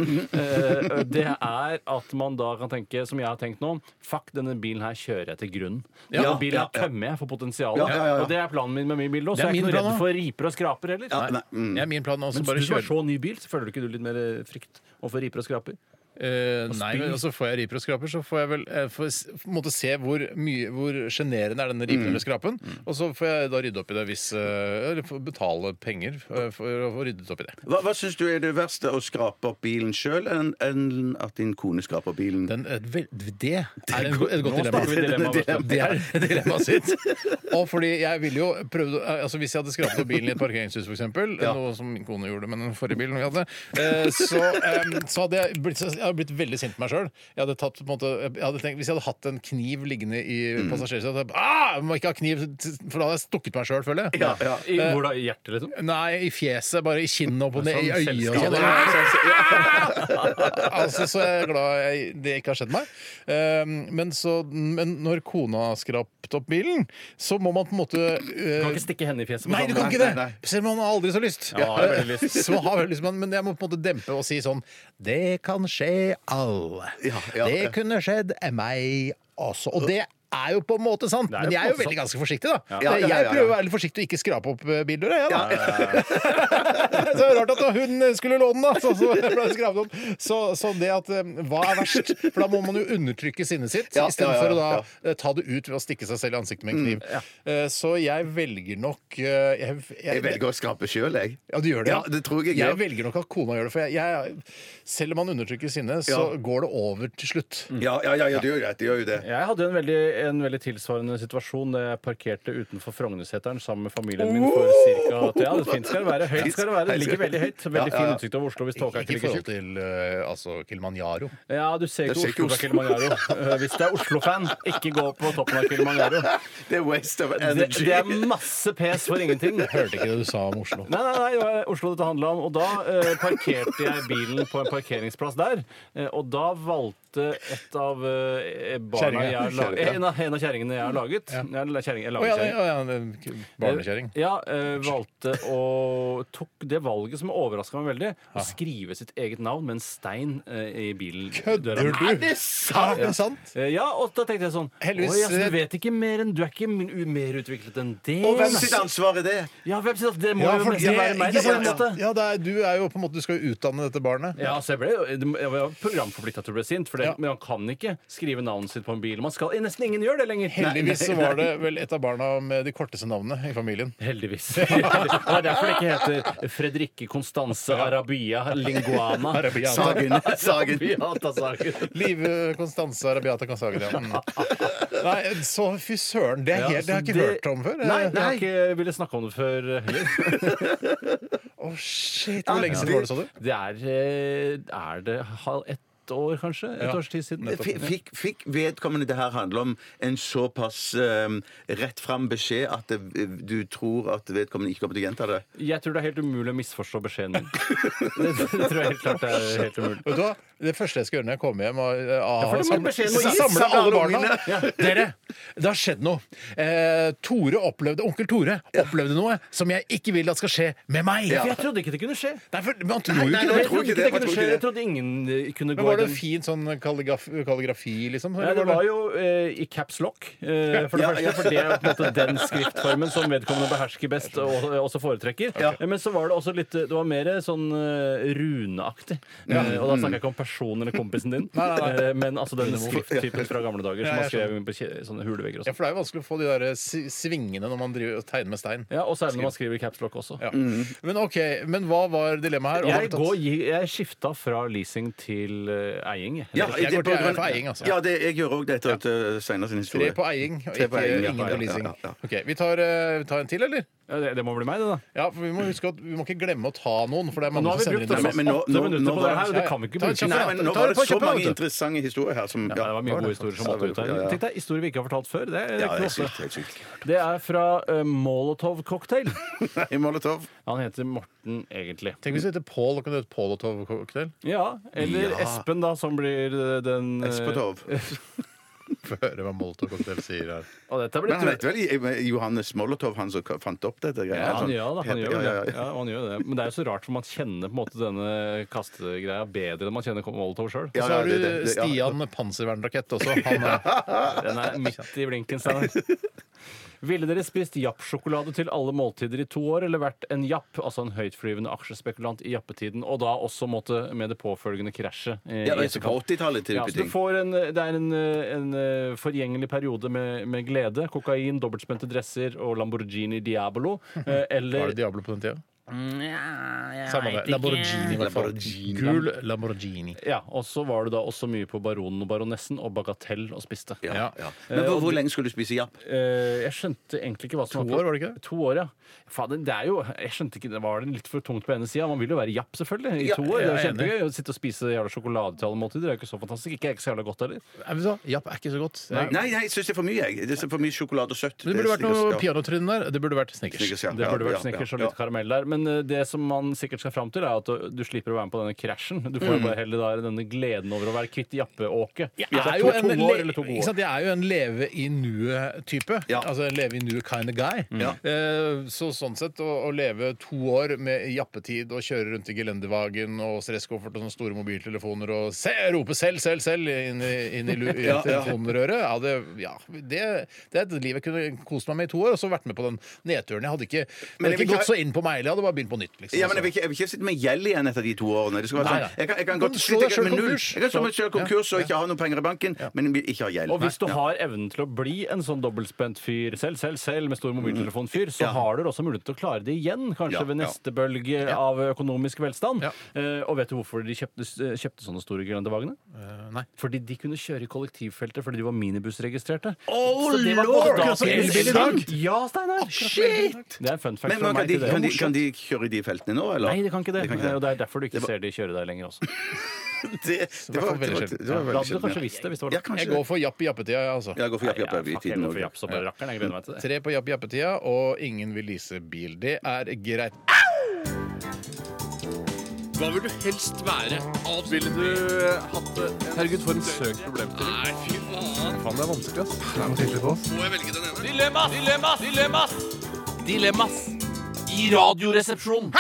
eh, det er at man da kan tenke, som jeg har tenkt nå, fuck, denne bilen her kjører jeg til grunnen. Denne Ja, bilen ja, her tømmer jeg for potensialet. Ja, ja, ja, ja. Og det er planen min med min bil nå, Det så er jeg er min ikke noe plan redd også. for riper og skraper heller. Nei. mm. Det er min plan. Også, Men bare hvis du har kjøre. så ny bil, så føler du ikke du litt mer eh, frykt overfor riper og skraper? Eh, nei, spy. men altså får jeg riper og skraper, så får jeg vel eh, får s- på en måte se hvor mye Hvor sjenerende er denne ripen eller skrapen. Og så får jeg da rydde opp i det hvis eh, Eller får betale penger eh, for å få ryddet opp i det. Hva, hva syns du er det verste? Å skrape opp bilen sjøl, enn enn at din kone skraper opp bilen? Den, eh, vel, det er en go- et godt Nå dilemma. snakker vi dilemma, vet du. Det er dilemmaet sitt. [laughs] Og fordi jeg ville jo prøvd å- eh, Altså Hvis jeg hadde skrapet opp bilen i et parkeringshus, f.eks., eksempel noe som min kone gjorde med den forrige bilen vi hadde, eh, så, eh, så hadde jeg blitt, så jeg hadde blitt veldig sint på meg sjøl. Jeg hadde tatt på en måte jeg hadde tenkt, Hvis jeg hadde hatt en kniv liggende i passasjersetet hadde jeg- ah, jeg Må ikke ha kniv, for da hadde jeg stukket meg sjøl, føler jeg. I, hvor da? I hjertet, liksom? Nei, i fjeset, bare i kinnet og på ned, i Sånn øyet og sånn. altså, så jeg er glad jeg, det ikke har skjedd meg. Ehm, men, så, men når kona har skrapt opp bilen, så må man på en måte eh, Du kan ikke stikke henne i fjeset. på Nei, du samme kan gang. ikke det! Selv om man har aldri så lyst. Ja, jeg har veldig [laughs] lyst. Så man har veldig lyst, men, men jeg må på en måte dempe og si sånn Det kan skje alle. ja, det ja. kunne skjedd meg også. Og det er jo på en måte sant, er men jo jeg er på jo en måte veldig ganske forsiktig, da. Ja, ja, ja, Jeg ja. prøver å være litt forsiktig og ikke skrape opp eh, bildøra, jeg, da. [laughs] Så det er rart at da hun eh, skulle låne den, da. Så, så, ble det skrapt opp. så, så det at eh, Hva er verst? For da må man jo undertrykke sinnet sitt, Ja, istedenfor ja, ja, ja. å da eh, ta det ut ved å stikke seg selv i ansiktet med en kniv. Eh, Så jeg velger nok eh, Jeg, Jeg velger å skrape sjøl, jeg. Ja, du gjør det? Ja, det tror jeg jeg jeg gjør. velger nok at kona gjør det. For jeg, jeg, selv om man undertrykker sinnet, så Ja. går det over til slutt. Ja, ja, ja, ja, det gjør greit. Det gjør jo det. Jeg hadde en veldig, en veldig tilsvarende situasjon da jeg parkerte utenfor Frognerseteren sammen med familien min for cirka Ja, det fint skal det være. Høyt skal det være. Det ligger veldig høyt. Veldig fin utsikt over Oslo hvis tåka Ikke ikke i ligger forhold tjukt. til eh, altså Kilimanjaro. Ja, du ser Jeg ikke ser ikke Oslo fra Kilimanjaro. Eh, Hvis det er Oslo-fan, ikke gå på toppen av Kilimanjaro. Det er waste of Det, energy. det er masse pes for ingenting. Hørte ikke det du sa om Oslo. Nei, nei, nei, det var Oslo dette handla om. Og da eh, parkerte jeg bilen på en parkeringsplass der. Eh, og da valgte kjøpte et av eh, barna Kjerringa. jeg har la- Kjerringa. en, av, en av kjerringene jeg har laget. Ja. eller Kjerring, jeg Å lager ja, kjerring. ja, ja, det- barnekjerring. Eh, Ja, eh, valgte å Tok det valget som overraska meg veldig, å skrive sitt eget navn med en stein eh, i bilen. Kødder Døra. du? Er det sant? Er det sant? Ja. Eh, Ja, og da tenkte jeg sånn Heldigvis- eh, Heldigvis, du vet ikke mer enn Du er ikke min- u- mer utviklet enn det. Og hvem nei. sitt ansvar er det? Ja, hvem sitt ansvar? Det må Ja, jo for nesten det- være meg. Det, ikke på en sant? måte. ja, det er, du er jo på en måte Du skal jo utdanne dette barnet. Ja, så jeg ble jo- jeg var programforplikta til å bli sint, for det, men man kan ikke skrive navnet sitt på en bil. Man skal, nesten ingen gjør det lenger. Heldigvis så var det vel et av barna med de korteste navnene i familien. Heldigvis. [laughs] Ja, Det er derfor det ikke heter Fredrikke Constanse Arabia Linguana. Arabiata. [laughs] Arabiata Sagen. Live Konstanse eh, Arabiata Kansagen, ja. Mm. Nei, så fy søren. Det, er Ja, helt, det har jeg så ikke hørt om før. Eh, Nei, jeg har ikke villet snakke om det før heller. Å, shit. Hvor lenge siden var det, sa du? Det er, eh, er det halv ett år, kanskje? Et års tid siden. F- Fikk, fikk vedkommende det her handler om, en såpass um, rett fram beskjed at det, du tror at vedkommende ikke kommer til å gjenta det? Jeg tror det er helt umulig å misforstå [laughs] beskjeden min. Det, det tror jeg helt klart er helt umulig. Vet du hva? Det første jeg skal gjøre når jeg kommer hjem og, eh, for har det må samlet, beskjeden må gis. samle alle Samle barna ungene. Ja. Dere, det har skjedd noe. Eh, Tore opplevde, Onkel Tore opplevde noe som jeg ikke vil at skal skje med meg. Ja, for jeg trodde ikke det kunne skje. Nei, for man tror jo ikke det. Jeg trodde ikke det kunne skje. Jeg trodde ingen eh, kunne Men gå var i det den fin sånn kalligrafi, kalligrafi liksom? Nei, det var jo eh, i caps lock, eh, for det Ja, første. ja. For det er jo på en måte den skriftformen som vedkommende behersker best og og også foretrekker. Eh, Men så var det også litt Det var mer sånn eh, runeaktig. Ja. Mm. Eh, og da snakker jeg ikke om personen eller kompisen din, [laughs] Nei, nei, nei. eh, men altså den skrifttypen fra gamle dager som Ja, man jeg skrev på kje- sånne hulevegger og Ja, sånn. for det er jo vanskelig å få de der svi- svingene når man driver og tegner med stein. Ja, og særlig når man skriver i caps lock også. Ja. Mm. Men ok, men hva var dilemmaet her? Jeg, går, jeg skifta fra leasing til eh, eiing. jeg. Ja, Jeg går til eier for eiing, altså. Ja, det, jeg gjør òg det etter ja. Steinar sin Tre historie. på eiing og Tre på ikke eiing, ja. ingen på leasing. Ja, ja, ja. Ok, Vi tar, eh, vi tar en til, eller? Ja, det, det må bli meg, det, da. Ja, for Vi må huske at vi må ikke glemme å ta noen. For det er Nå mange har vi som sender brukt inn oss dilemmaer. åtte minutter på det her, og det kan vi ikke Ta en bruke. kjapp Nei, rate. men nå Ta var en det så kjapp rate. mange interessante historier her som Ja, det var mye gode historier som måtte ut her. Tenk deg historier vi ikke har fortalt før. Det er, Ja, det er ikke noe. sykt. Helt sykt. Det er fra eh, Molotov Cocktail. Nei, Molotov. Han heter Morten, egentlig. Tenk hvis det heter Paul og kan hete Polotov-cocktail. Ja, eller Ja. Espen, da, som blir eh, den [laughs] eh, Espetov. [laughs] [laughs] Få høre hva Molotov-cocktail sier her. Og dette Men blir han heter vel Johannes Molotov, han som fant opp dette? altså. ja, han gjør det. Han gjør ja, vel ja, ja. det. sånn. Ja, han gjør det. Men det er jo så rart, for man kjenner på en måte denne kastegreia bedre enn man kjenner Molotov sjøl. Og så har det- det- du det- [laughs] ja. Stian Panservernrakett også. Han [laughs] er Den er midt i blinken, Steinar. Ville dere spist jappsjokolade til alle måltider i to år, eller vært en japp, altså en høytflyvende aksjespekulant i jappetiden, og da også måtte med det påfølgende krasjet? eh, Ja, i altså på etterkant? 80-tallet type Ja, så du ting. får en, det er en, en eh, forgjengelig periode med, med glede. Kokain, dobbeltspente dresser og Lamborghini Diabolo. eh, Var det Eller Diablo på den tida? Samme det. Lamborghini, i hvert fall. Gul Lamborghini. ja, Og så var du da også mye på Baronen og Baronessen og Bagatell og spiste. Ja, ja. Men hvor, hvor lenge skulle du spise japp? Eh, jeg skjønte egentlig ikke hva som To år, var det ikke det? To år, ja. Fader, det er jo, jeg skjønte ikke, det var det litt for tungt på ene sida. Man vil jo være japp, selvfølgelig, i Ja, to år. Det er jo jeg er enig. kjempegøy å sitte og spise jævla sjokolade til alle måltider. Det er jo ikke så fantastisk. Ikke, ikke så jævla godt heller. Er vi så? Japp er ikke så godt. Det er- Nei, nei, jeg syns det er for mye. jeg. Det er for mye sjokolade og søtt. Men Det burde vært noe stikker- ja. pianotrinn der. Det burde vært snickers. Snickers, ja. Det Ja, burde ja, vært snickers ja, og litt ja. karamell der. Men eh, det som man sikkert skal fram til, er at eh, du- du slipper å være med på denne krasjen. Du Mm. får jo bare heller da denne gleden over å være kvitt jappeåket. Jeg Så er, det jo to- en, to år eller to ikke gode år. sant? jeg er jo en leve i nuet-type. Ja. Altså en leve i nuet kind of guy. Eh, Så sånn sett å, å leve to år med jappetid og kjøre rundt i gelendervagen og stresskoffert og sånne store mobiltelefoner og se, rope selv, selv, selv inn i, inn [laughs] i, lu- i Ja, ja. telefonrøret ja, det, ja, det, det er et liv jeg kunne kost meg med i to år, og så vært med på den nedturen. Jeg hadde ikke, det Men hadde jeg vil ikke ikke gått ha- så inn på meg, jeg hadde bare begynt på nytt. Liksom, Ja, men jeg altså. vil, ikke, jeg vil ikke sitte med gjeld igjen etter de to årene. Det skal være Nei, sånn, nei. jeg kan, jeg kan Du godt kan slå sitte deg selv med null. konkurs. Jeg kan stå meg selv konkurs og Ja. ikke ha noe penger i banken, men vil ikke ha gjeld. Og hvis du Nei. har evnen til å bli en sånn dobbeltspent fyr selv, selv, selv, med stor mobiltelefonfyr, så Ja. har du også mulighet til å klare det igjen, kanskje Ja, ved ja. neste bølge av økonomisk velstand. Ja. Eh, og vet du hvorfor de kjøpte, eh, kjøpte sånne store gelendervagene? Eh, Nei. Fordi de kunne kjøre i kollektivfeltet fordi de var minibussregistrerte. Oh, Så det var lord! både Akkurat som datidens elbil i dag. Ja, Steinar! Shit! Det er en fun fact Men, fra men kan, meg de, til kan, de, dere. kan de kjøre i de feltene nå, eller? Nei, det kan ikke det. kan Og det er derfor du ikke Det var- ser de kjøre der lenger også. Det, det var hvert det fall veldig var- sjelden. det var veldig Da hadde du sjelden, kanskje ja. visst det. hvis det var Ja, det. kanskje Altså, Jeg går for japp i jappetida, jeg, altså. Jeg går for japp, japp, Ja, japp i fuck, jeg tiden går for òg. japp som bare rakkeren. Jeg gleder meg til det. Tre på japp jappetida, og ingen vil lease bil. Det er greit. Hva vil du helst være? Ville du eh, hatt det? Herregud, for en søk problemstilling. Nei, fy faen. Faen, det er vanskelig, ass. Det er noe tydelig på oss. Må jeg velge den ene? Dilemmas! Dilemmas! Dilemmas! Dilemmas! I radioresepsjonen.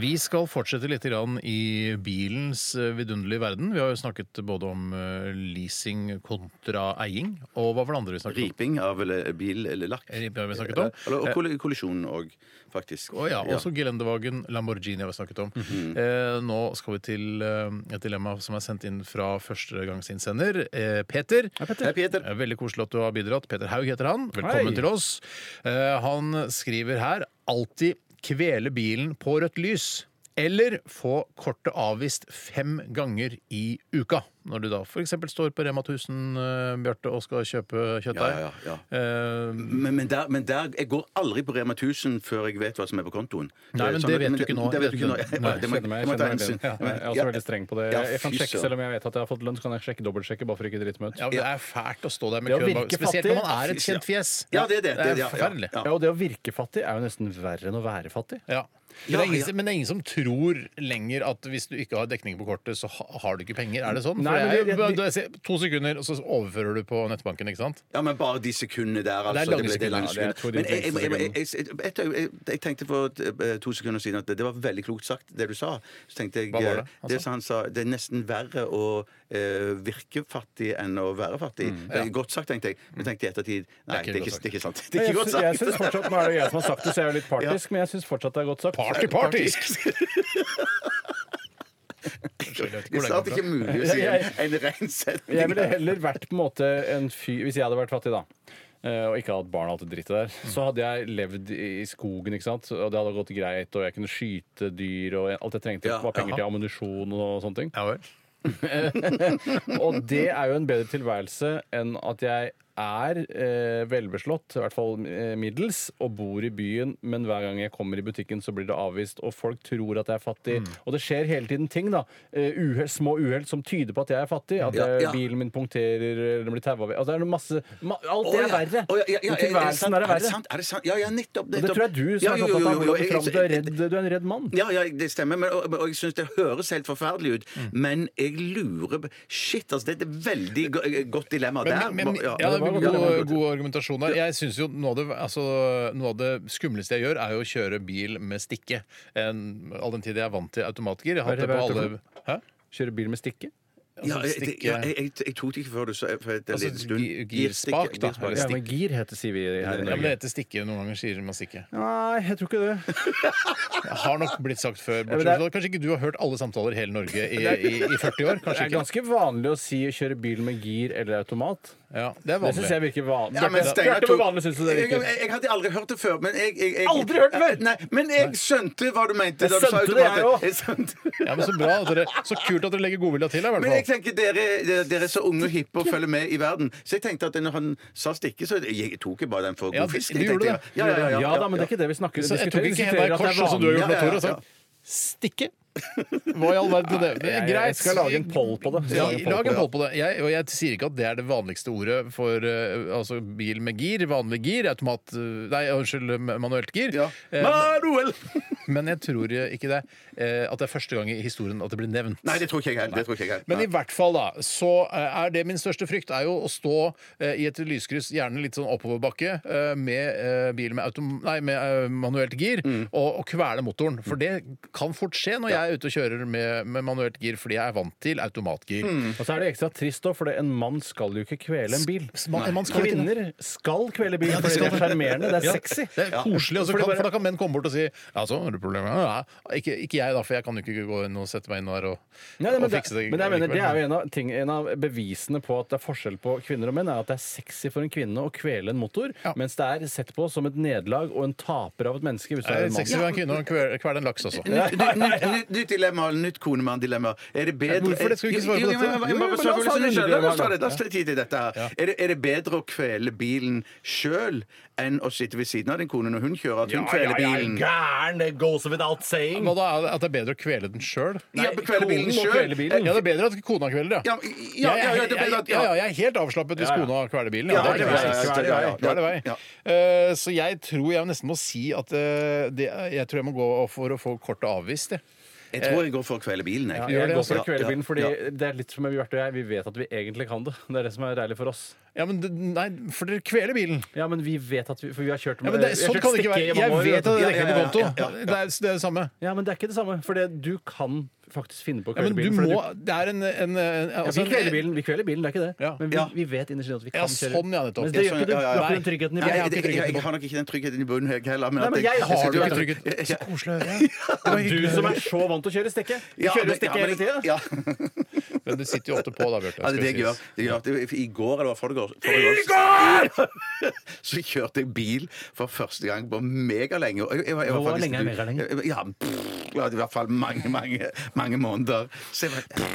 Vi skal fortsette litt grann i bilens eh, vidunderlige verden. Vi har jo snakket både om eh, leasing kontra eying. Og hva var det andre vi snakket om? Riping av eller, eh, bil eller lakk. Riping har vi snakket om. Eh, Ja, eller- Og koll- kollisjon òg, faktisk. Å ja, også Gelendewagen, Lamborghini har vi snakket om. Mhm. eh, nå skal vi til eh, et dilemma som er sendt inn fra førstegangsinnsender, eh, Peter. Hei, Peter. Eh, Veldig koselig at du har bidratt. Peter Haug heter han. Velkommen Hei. til oss. Eh, han skriver her alltid kvele bilen på rødt lys. Eller få kortet avvist fem ganger i uka. Når du da f.eks. står på Rema 1000, eh, Bjarte, og skal kjøpe kjøttdeig. Eh, Ja, ja, ja. Men, men, der, men der, jeg går aldri på Rema 1000 før jeg vet hva som er på kontoen. Nei, men Sånn, det vet du ikke nå. Det vet du ikke nå. Jeg- Nei, det må- kjenner meg, jeg må kjenner ta meg hensyn. bedre. Ja, jeg er også veldig streng på det. Ja, Jeg kan fy sjekke søren. selv om jeg vet at jeg har fått lønn, så kan jeg sjekke, dobbeltsjekke bare for ikke å drite meg ut. Ja, men Det er fælt å stå der med Det å køen bak. virke Spesielt fattig- når man er et kjent fjes. Ja, det er det. det, er det, ja, ja. forferdelig. Ja. Ja, og det å virke fattig er jo nesten verre enn å være fattig. Ja. Men, det er ingen, men det er ingen som tror lenger at hvis du ikke har dekning på kortet, så ha- har du ikke penger. Er det sånn? For Nei, men det det- er jo det- bare- du ser to sekunder, og så overfører du på nettbanken, ikke sant? Ja, men bare de sekundene der, altså. Det er lange ble- sekunder, ja, det er to av de Men jeg, jeg, jeg, lengste jeg, jeg, jeg, jeg, jeg tenkte for eh, to sekunder siden at det, det var veldig klokt sagt, det du sa. Så tenkte jeg Hva var det eh, han det som han sa, det er nesten verre å eh, virke fattig enn å være fattig. Mm, Det er Godt sagt, tenkte jeg. Men tenkte i ettertid Nei, det er ikke, det er ikke sant. [laughs] Det er Jeg ikke godt sy- Jeg syns sagt. fortsatt, nå er det jeg som har sagt det, så jeg er jo litt partisk, men jeg syns fortsatt det er godt sagt. [laughs] Party, party! Det er snart ikke mulig å si en, en ren setning. Jeg ville heller vært på en måte en fyr Hvis jeg hadde vært fattig, da. eh, Og ikke hatt barn og alt det drittet der. Så hadde jeg levd i i skogen, ikke sant? og det hadde gått greit. Og jeg kunne skyte dyr, og jeg- alt jeg trengte, Ja, var penger ja. til ammunisjon og sånne ting. Ja, vel. og det er jo en bedre tilværelse enn at jeg er eh, velbeslått, i hvert fall eh, middels, og bor i byen, men hver gang jeg kommer i butikken, så blir det avvist, og folk tror at jeg er fattig. Mm. Og det skjer hele tiden ting, da. Eh, uhell- små uhell som tyder på at jeg er fattig. At Ja, jeg, ja. bilen min punkterer, eller den blir taua ved altså, det er noe masse, ma Alt Å, det ja. er verre. Å, ja, ja, ja, er det Men sant? tilværelsen er det Er det verre. sant? Er det sant? Ja, ja, nettopp. Og det tror jeg du som er sånn opptatt av. hvordan du fram- Du er redd- du er en redd mann. Ja, ja, det stemmer. Men, og, og jeg syns det høres helt forferdelig ut. Men jeg lurer Shit, altså, det er et veldig go eh, godt dilemma Men, der. men, men, ja, Ja. det er god, god argumentasjon der. Jeg synes jo noe av, det, altså, noe av det skumleste jeg gjør, er jo å kjøre bil med stikke. En, all den tid jeg er vant til automatgir. Jeg har hatt det på alle Hæ? Kjøre bil med stikke? Ja, jeg, jeg, stikke- jeg, jeg, jeg tok det ikke før du sa for en Altså, liten stund. gi- girspak, da, Girspak. eller Ja, men gir heter sier vi Ja, her i men det Norge. heter stikke. Noen ganger sier man stikke. Nei, jeg tror ikke det. Det har nok blitt sagt før. Ja, men bortsett det er- fra- Kanskje ikke du har hørt alle samtaler i hele Norge i, i, i 40 år? Det Kanskje er ikke? ganske vanlig å si å kjøre bil med gir eller automat. Ja, det er Det vanlig. syns jeg virker vanlig. Ja, men Steinar Bjarte, tok- hvor vanlig syns du det jeg, jeg, virker? jeg hadde aldri hørt det før. Men jeg, jeg, jeg Aldri hørt det før? Nei, men jeg skjønte hva du mente. Jeg da du sa skjønte det, jeg automatet. også. Jeg skjønte Ja, men Så bra. at Dere, så kult at dere legger godvilja til. her, i hvert Men jeg fall. tenker dere, dere- dere er så unge og hippe og følger med i verden. Så jeg tenkte at når han sa stikke, så jeg tok jeg bare den for Ja, god fisk. du jeg gjorde tenkte, det. Ja, ja, ja, ja, Ja da, men det er ikke det vi snakker Så jeg diskuterer. tok Vi ikke diskuterer Henrik at det er Kors, sånn som du har gjort vanlig. med Tor. og Ja, ja, sa, Stikke! Hva i all verden er det? det? er Jeg- Greit. jeg skal lage en poll på det. Ja, Skal lage en poll lag på en det. poll på det. Jeg, og jeg sier ikke at det er det vanligste ordet for eh, altså bil med gir. Vanlig gir, automat eh, Nei, unnskyld, manuelt gir. Ja. Eh, Manuel! Men jeg tror ikke det eh, at det er første gang i historien at det blir nevnt. Nei, det tror ikke jeg heller. Det tror ikke jeg heller. Men i Nei. hvert fall, da, så eh, er det min største frykt er jo å stå eh, i et lyskryss, gjerne litt sånn oppoverbakke, eh, med eh, bil med, autom nei, med eh, manuelt gir, Mm. og, og kvele motoren. For det kan fort skje når jeg er ute og kjører med, med manuelt gir, fordi jeg er vant til automatgir. Mm. Og så er det ekstra trist òg, for det- en mann skal jo ikke kvele en bil. S- man- man skal ikke det. Kvinner skal kvele bil, det fordi skal det er det. sjarmerende, det Ja, er sexy. Det er koselig, og så Fordi kan, bare- for da kan menn komme bort og si ja, så har du problemer. Ja, ja. Ikke, ikke jeg, da, for jeg kan jo ikke gå inn og sette meg inn der og, Nei, nei, men, og fikse det, det. men jeg mener, det likevel. er jo en av, ting, en av bevisene på at det er forskjell på kvinner og menn, er at det er sexy for en kvinne å kvele en motor, mens det er sett på som et nederlag og en taper av et menneske hvis du Det er er en mann. sexy å være en kvinne og kvele kvele en laks også. Nytt, nytt, nytt, [laughs] nytt, nytt dilemma, nytt konemann-dilemma. Er det bedre Hvorfor det? Skal vi ikke svare på Jo, jo, dette? men- men- Jo, men- men men- la La oss oss ta ta det det selv, individuelle la oss ta her, det, la oss ta litt tid til dette her. Er det- Er det bedre å kvele bilen sjøl enn å sitte ved siden av din kone når hun kjører? At hun kveler bilen? gæren! Det goes without saying. Hva da? er det- At det er bedre å kvele den sjøl? Ja, kvele bilen konen må sjøl? kvele bilen. Ja, det er bedre at kona kveler, ja. Ja, ja, ja, ja, jeg, det jeg, er bedre at- ja, ja, jeg er helt avslappet hvis Ja, ja. kona kveler bilen. Ja, Ja, det det er er greit. greit. Kvele vei, kvele vei. Ja. Eh, Så jeg tror jeg nesten må si at eh, det, jeg tror jeg må gå for å få kortet avvist, jeg. Jeg tror jeg går for å kvele bilen. jeg. Ja, jeg går for å Ja, kvele ja, bilen, fordi ja. det er litt som med Bjarte og jeg. Vi vet at vi egentlig kan det. Det er det som er deilig for oss. Ja, men det- Nei, for dere kveler bilen. Ja, men vi vet at vi For vi har kjørt Ja, men det, vi har sånn kjørt kan det ikke stikke i være. mange Jeg år, vet at det Ja, ikke er ja, på ja, konto. ja, ja. Det er det er det samme. Ja, men det er ikke det samme. For det, du kan faktisk finne Ja, på å kvele men du bilen. fordi må Det er en, en, en eh, altså ja, vi en- kveler bilen, vi kveler bilen, det er ikke det. Men vi, Ja. vi vet innerst inne at vi kan Ja, kjøre. sånn, ja, nettopp. Men det gjør ikke Ja, du. Du ja, ja. har ikke den tryggheten i Nei, bilen. jeg, jeg, jeg, har nok ikke den tryggheten i bunnen, jeg heller. Nei, men jeg har sitter den jo ikke- tryggheten. Jeg- jeg- Koselig å høre. Du som er så vant til å kjøre stekke. Du Ja, kjører jo men- stekke ja, hele men- tida. Ja, Men du sitter jo ofte på da, Bjarte. ja, det er det jeg gjør. skal Det gjør. Det var I går eller forgårs I Så kjørte jeg bil for første gang på megalenge. Og jeg- jeg var- jeg var Hvor faktisk- lenge er megalenge? Ja, pff, ja, i hvert fall mange, mange, mange måneder. Så jeg var,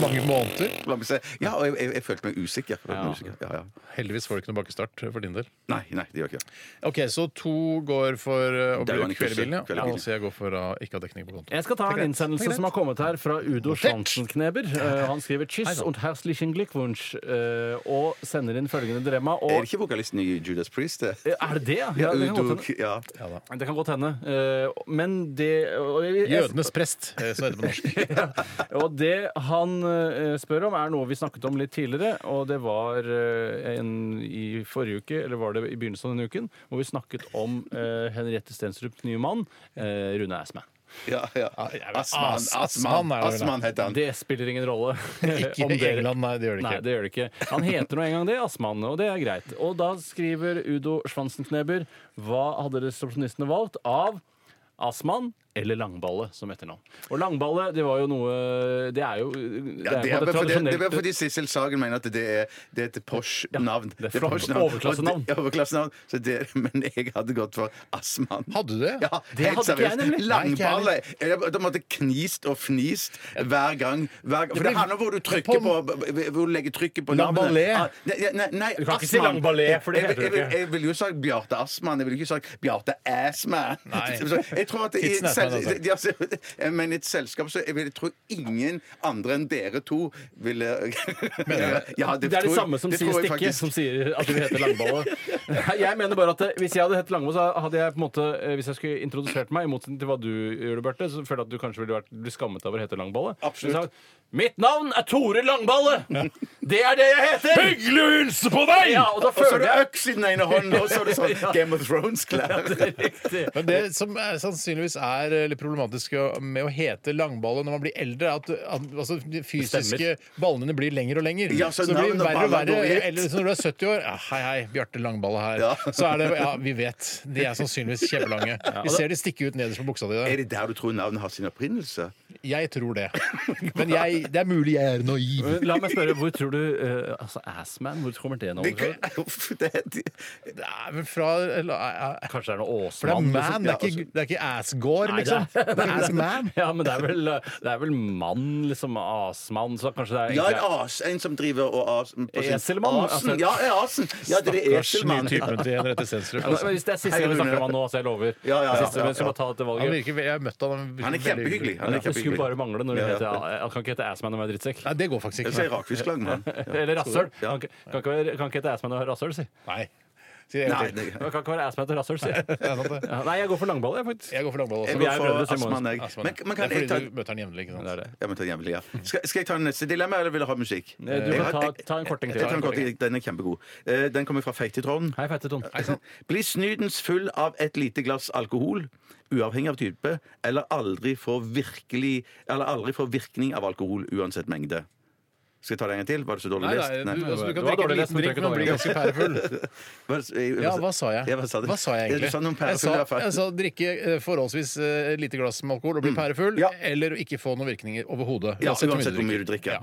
Mange måneder. la meg se. Ja, og jeg, jeg, jeg følte meg usikker. Jeg følte meg usikker. Ja, ja. Heldigvis får du ikke noe bakkestart for din del. Nei, nei, det gjør jeg ikke. OK, så to går for eh, å Det er jo bruke en kurse. kveldebilen, ja. Kveldebilen. Og så jeg går for å ikke ha dekning på konto. Jeg skal ta en innsendelse som har kommet her fra Udo Schwanzenkneber. Eh, han skriver 'Kyss und herzlichen Glückwunsch' eh, og sender inn følgende dilemma. Er det Og Eh, ikke vokalisten i Judas Priest? Det? er det det? Ja, Ja, det kan godt Udo, hende. ja. Det kan godt hende. Eh, Men det og jeg- jeg- Jødenes prest, eh, som heter det på norsk. Og det han eh, spør om, er noe vi snakket om litt tidligere. Og det var eh, en, i forrige uke, eller var det i begynnelsen av denne uken, hvor vi snakket om eh, Henriette Stensrups nye mann, eh, Rune Eismann. ja, ja. Asman, As- Asman Asman, er det vel. Asman heter han. Det spiller ingen rolle. Ikke i England, nei, det gjør det Nei, ikke. det gjør det ikke. Han heter nå engang det, Asman, og det er greit. Og da skriver Udo Schwanzenkneber hva hadde resepsjonistene valgt av Asman eller Langballe som etternavn. Og Langballe, det var jo noe Det er jo det Ja, er det jo er bare fordi, det er tradisjonelt- bare fordi Sissel Sagen mener at det er, det er et Porsche-navn. det er flott. Porsche-navn. Overklassenavn. Og det- Overklassenavn. Så det- Men jeg hadde gått for Assmann. Hadde du det? Ja, Det helt hadde ikke jeg seriøst. nemlig. Langballe. Jeg- Da måtte jeg knist og fnist hver gang. Hver, for det handler om hvor du trykker på Hvor du legger trykket på navnet. Langballet. Ah, Nei, nei, nei Du kan ikke si Assmann. langballet, for det heter det Jeg- jeg- ikke. Jeg ville jo sagt Bjarte Assmann. Jeg ville ikke sagt Bjarte Assmann. [laughs] Så Jeg tror at i, Tidsen Assmann, altså. selv, ja, så- men i et selskap så jeg vil tro ingen andre enn dere to ville Ja, Det tror er det jeg- samme som det sier tror jeg stikke, faktisk. som sier at du heter Langballe. Nei, Jeg mener bare at eh, Hvis jeg hadde hett Langballe, så hadde jeg på en måte eh, Hvis jeg skulle introdusert meg, i motsetning til hva du gjør, Bjarte, så føler jeg at du kanskje ville vært blitt skammet av å hete Langballe. Absolutt. Så jeg sa, Mitt navn er Tore Langballe! Det er det jeg heter! Hyggelig å hilse på deg! Ja, og da Og så har føler du jeg øks i den ene hånden, og så har du [laughs] sånn Game of Thrones-klær. Riktig. Men det som er, sannsynligvis er eh, litt problematisk med å hete langballe når man blir eldre, er at, at altså, de fysiske ballene blir lengre og lengre. Ja, så så det blir navnet verre og Ballen verre. går i ett. Eller så når du er 70 år ja, Hei, hei, Bjarte Langballe her. Ja. [laughs] Så er det Ja, vi vet. De er sannsynligvis kjempelange. Vi ser de stikke ut nederst på buksa di Er der. det der du tror navnet har sin opprinnelse? Jeg tror det. Men jeg, det er mulig jeg er naiv. Men La meg spørre, hvor tror du eh, Altså, Assman, hvor kommer det navnet fra? Det- [laughs] Uff, det er- Nei, men fra eller, eh, Kanskje det er noe Åsmann? For det er liksom? man, det er ikke, det er ikke ass-gård, Nei, liksom. [laughs] det er- Det er ass-man. Ja, men det er vel, det er vel mann, liksom. Asmann, så kanskje det er Ja, en as. En som driver og as... på sin- Eselmann, altså. Asen. Ja, en asen. Ja, det er Eselmann. Stakkars typen til Henriette Stensrup. Ja, men Altså. Hvis det er siste Hei, gang vi Rune. snakker om han nå, så jeg lover. Ja, ja, ja, Det siste, ja, men skal ja. bare ta dette Han valget. virker, jeg har møtt han, han virker Han er veldig kjempehyggelig. Han er Det skulle bare kjempehyggelig. mangle når du Ja, ja. heter Han kan ikke hete Assman og være drittsekk. Nei, det går faktisk Jeg sier ikke. rakfisklang, [laughs] mann. [laughs] Eller rasshøl. Kan, ikke- kan, ikke være- kan ikke hete Assman og være rasshøl, si. Nei. Sier jeg en Nei, til. [laughs] det- Kan ikke være Assman og rasshøl, si. Det er sant, det. Ja, nei, jeg går for langballe, jeg, faktisk. Jeg går for langball Jeg også. Vi er brødre, går for Simon. Asman, jeg. Asman, Men men kan det er jeg ta fordi du møter han jevnlig, ikke Det er sant? det. Jeg må ta den jævlig, ja. skal, skal jeg ta neste dilemma, eller vil du ha musikk? Du kan Jeg har- ta- jeg- ta en korting til. Jeg tar en korting, Den er kjempegod. Eh, Den kommer fra Feitetrond. Hei, fette Tom. Bli snydens full av et lite glass alkohol, uavhengig av type, eller aldri få virkelig Eller aldri få virkning av alkohol uansett mengde. Skal jeg ta det en gang til? Var det så dårlig Nei, lest? nei, du, altså, du Det kan var drikke dårlig en lest, men liten drikk, du men trenger blir ikke ganske pærefull. Hva, eh, Ja, hva sa jeg? [laughs] Ja, hva sa du? hva sa jeg Ja, egentlig? Du sa noen jeg, sa, pærefull i hvert fall. jeg sa drikke eh, forholdsvis eh, lite glass med alkohol og bli pærefull, Mm. Ja. eller ikke få noen virkninger overhodet. Ja, uansett hvor mye du drikker. Ja.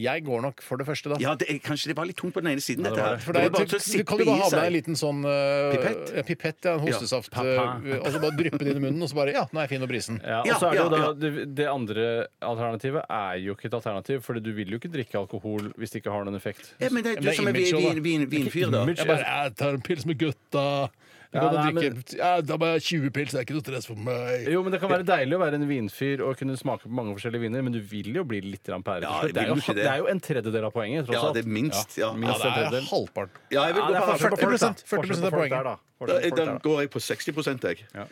Jeg går nok for det første, da. Ja, det, er- kanskje det var litt tungt på den ene siden, dette her. For det er, var bare du, til å sippe kan du bare i ha med seg. deg en liten sånn eh, Pipett? Ja, pipett, ja, en hostesaft. Pappa. eh, og så bare dryppe det inn i munnen, og så bare Ja, nå er jeg fin og brisen. Ja, og Ja, så er det, jo ja, da, det, det andre alternativet er jo ikke et alternativ, Fordi du vil jo ikke drikke alkohol hvis det ikke har noen effekt. Ja, men det er Men det du er som er image vin, også, da. vin, vin, vinfyr, da. Jeg bare jeg tar en pils med gutta. Jeg Ja, kan nei, drikke, ja, da må jeg ha 20 pils, det er ikke noe stress for meg. Jo, men Det kan være deilig å være en vinfyr og kunne smake på mange forskjellige viner, men du vil jo bli litt grann pære. til Ja, slutt. jeg det, er vil jo jo, ikke det. det er jo en tredjedel av poenget, tross Ja, det alt. er minst. Ja, Ja, det Ja, er halvparten. Ja, jeg vil gå Ja, det er på forskjell på folk, da. 40%, 40% av Forskjell på folk poenget. der, da. Da, Forskjell på folk der, da da. går jeg på 60 jeg. Ja.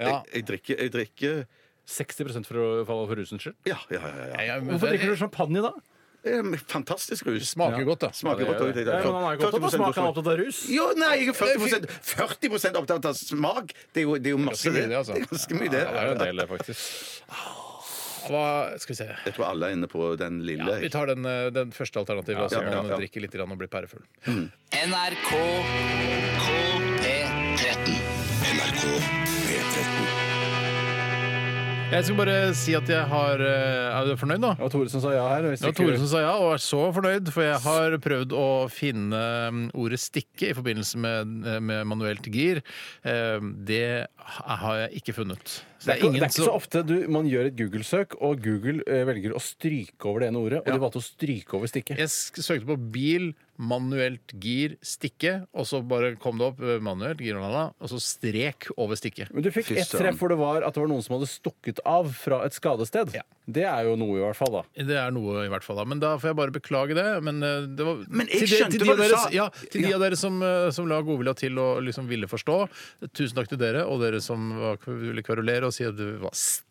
Jeg, jeg drikker, jeg drikker 60 for, for rusens skyld? Ja, ja, ja, ja. Hvorfor drikker du champagne da? Fantastisk rus. Smaker godt, da. Smaker Ja, det godt, gjør det. og- Ja, men han er jo ikke 40% opptatt av smak, han er opptatt av rus. Jo, nei, jeg er 40 40 opptatt av smak. Det er jo, det er jo masse mye, det, altså. Det er ganske mye, det. Ja, det er jo en del, det, faktisk. Hva, skal vi se Jeg tror alle er inne på den lille. Vi tar den, eh, den første alternativet, Ja, altså ja, man ja. drikker litt grann og blir pærefull. NRK KP13. NRK P13. Jeg skal bare si at jeg har eh, Er du fornøyd, da? Ja, Tore som sa ja her. Det var Tore som sa ja, og er så fornøyd, for jeg har prøvd å finne mm, ordet 'stikke' i forbindelse med, eh, med manuelt gir. Eh, Det har jeg ikke funnet. Det er, ikke, det er ikke så ofte du, man gjør et Google-søk, og Google eh, velger å stryke over det ene ordet. Og de valgte å stryke over stikket. Jeg sk- søkte på bil, manuelt gir, stikke, og så bare kom det opp eh, manuelt gir, la, la, la, og så strek over stikket. Men du fikk ett treff hvor det var at det var noen som hadde stukket av fra et skadested. Det er jo noe, i hvert fall. da Det er noe, i hvert fall. da Men da får jeg bare beklage det. Men eh, det var Men jeg til de- skjønte til de hva du av dere, sa. Ja, til de Ja. av dere som, eh, som la godvilja til og liksom ville forstå, tusen takk til dere. Og dere som var, ville kverulere og si at du var stikke!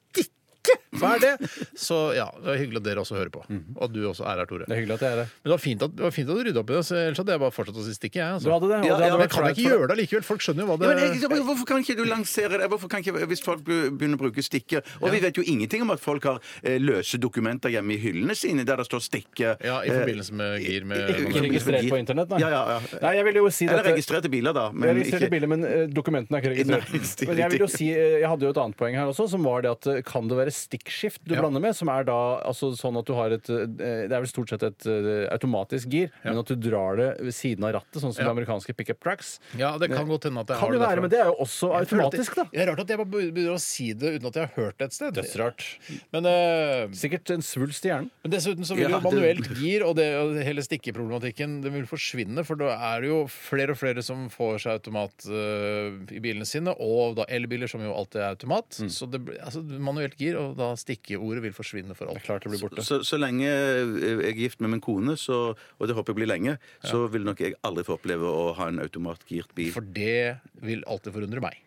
Hva er det? Så ja, det er hyggelig at dere også hører på. Og at du også er her, Tore. Det er hyggelig at jeg er det. Men det var fint at, det var fint at du rydda opp i det, så ellers hadde jeg bare fortsatt å si stikke, jeg. Altså. Du hadde det, og det ja, hadde ja, men vært kan jeg flaut ikke for gjøre det likevel? Folk skjønner jo hva Ja, det men jeg, hvorfor kan ikke du lansere det? Hvorfor kan ikke, hvis folk be- begynner å bruke stikke Og vi vet jo ingenting om at folk har eh, løse dokumenter hjemme i hyllene sine der det står stikke. Ja, i eh, forbindelse med gir [laughs] med i- i- i- Ikke registrert på internett, nei. Ja, ja, ja. Nei, jeg vil jo si Eller dette- registrerte biler, da. Men, jeg registrerte biler, men eh, dokumentene er ikke registrert. Nei, det er men jeg vil jo riktig. si, eh, jeg hadde jo et annet poeng her også, som var det at eh, kan det være stikkskift du blander med? Som er da altså, sånn at du har et eh, Det er vel stort sett et eh, automatisk gir, men at du drar det ved siden av rattet, sånn som Ja. de amerikanske pickup trucks. Ja, det kan godt hende at jeg Kan har det være, derfra. men det er jo også Jeg føler at det- automatisk, da. Det er rart at jeg bare begynner å si det uten at jeg har hørt det et sted. Dødsrart. Men, Sikkert en svulst i hjernen. Men dessuten så vil Ja, jo det- manuelt gir og, det, og hele stikkeproblematikken den vil forsvinne, for da er det jo flere og flere som får seg automat øh, i bilene sine, og da elbiler som jo alltid er automat. Så det, blir- altså, manuelt gir og da stikkeordet vil forsvinne for alt. Det er klart det blir Så, så lenge eh, jeg er gift med min kone, så, og det håper jeg blir lenge, så vil nok jeg aldri få oppleve å ha en automatgirt bil. For det vil alltid forundre meg.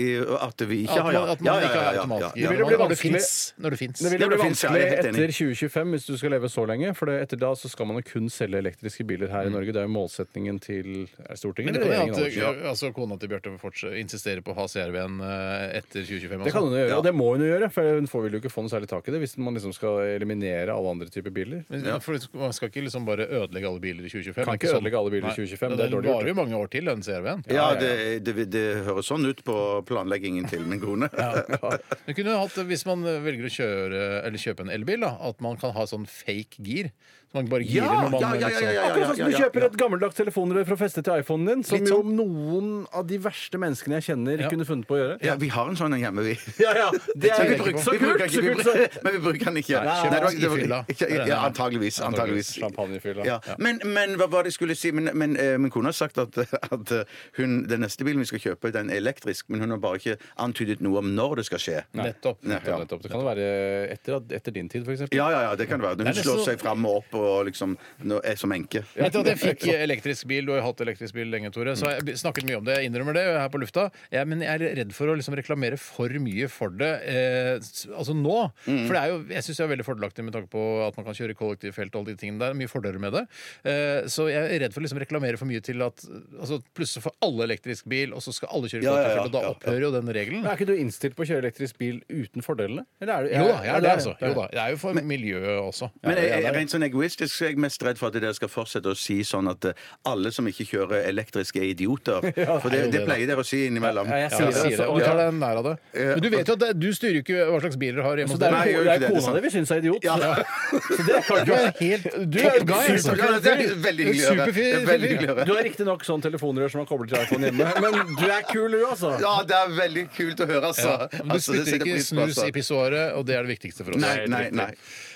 I- At vi ikke At har man- at man ikke har automatgir. ja. Det vil jo bli vanskelig- Når det fins. Det vil Ja, jo bli det fins, ja, vanskelig jeg er helt enig. etter 2025 hvis du skal leve så lenge. For det- etter da så skal man jo kun selge elektriske biler her i Norge. Det er jo målsetningen til er det Stortinget. Men det kan eller hende at regjeringen, øh, altså, kona til Bjarte fortsatt insisterer på å ha CRV-en øh, etter 2025. Det kan hun jo gjøre, Ja. og det må hun jo gjøre, for hun får vil jo ikke få noe særlig tak i det hvis man liksom skal eliminere alle andre typer biler. Men for Man skal ikke liksom bare ødelegge alle biler i Kan 2025. Det er ikke sånn- ødelegge alle biler i Nei. 2025, Ja, det er Den dårlig gjort. varer jo mange år til, den CRV-en. Ja, det, det, det høres sånn ut på planleggingen til min kone. Du kunne jo hatt, Hvis man eh, velger å kjøre, eller kjøpe en elbil, da, at man kan ha sånn fake gir. Så man bare girer Ja, når ja, ja, man ja, ja, ja, Akkurat sånn som du liksom- kjøper et gammeldags telefonrør for å feste til iPhonen din, som Litt jo noen av de verste menneskene jeg kjenner kunne funnet på å gjøre. Ja, vi har en sånn en hjemme, vi. Ja, ja, det Men er vi bruker- så vi bruker ikke- kult! Så vi kult, [laughs] bruker- så Men vi bruker den ikke. Nei, kjøp det var- den i det var- fylla. ikke- Ja, antageligvis. antageligvis. Champagnefylla. Ja. Ja. Men, men hva var det jeg skulle si? Men, men eh, min kone har sagt at, at eh, hun, den neste bilen vi skal kjøpe, den er elektrisk, men hun har bare ikke antydet noe om når det skal skje. Nei. Nettopp. Nei, ja. nettopp, nettopp. Det kan jo være etter, at- etter din tid, f.eks. Ja, ja, ja, det kan det være. Hun Det er nesten slår så- seg fram og opp og liksom, nå er som enke. Etter [laughs] at jeg fikk elektrisk bil, du har jo hatt elektrisk bil lenge, Tore, så har jeg snakket mye om det. Jeg innrømmer det her på lufta. Jeg, men jeg er redd for å liksom reklamere for mye for det eh, s- altså nå. Mm. For det er jo, jeg syns det er veldig fordelaktig med tanke på at man kan kjøre i kollektivfelt og alle de tingene der. Mye fordeler med det. Eh, så jeg er redd for å liksom reklamere for mye til at altså, plutselig får alle elektrisk bil, og så skal alle kjøre i Ja, ja, ja, kollektivfelt, og ja, da ja. opphører jo den regelen. Men Er ikke du innstilt på å kjøre elektrisk bil uten fordelene? Eller er du, Jo da, jeg er er du det, altså. Jo da. Det er jo for miljøet også. Men jeg, Ja, det jeg, er det. rent sånn egoistisk så er jeg mest redd for at dere skal fortsette å si sånn at eh, alle som ikke kjører elektrisk, er idioter. [laughs] Ja, For det er jo det, det det, da. pleier dere å si innimellom. Ja, jeg sier det, altså, og vi tar den nær av det. Men du vet jo at det- du styrer jo ikke hva slags biler du har Så hjemme hos Altså, det deg. er, jo- det er kona di vi syns er idiot. Ja. Så det er [laughs] klart Du er helt Du er jo guy. altså. Superguy. Du er superfyr, fyr. Du har riktignok sånn telefonrør som man kobler til iPhone hjemme, men du er kul, du, altså. Ja, det er veldig kult å høre, altså. Ja, men du Altså, det spytter setter ikke pris på, snus altså. i pissoaret, og det er det viktigste for oss. Nei, nei, nei.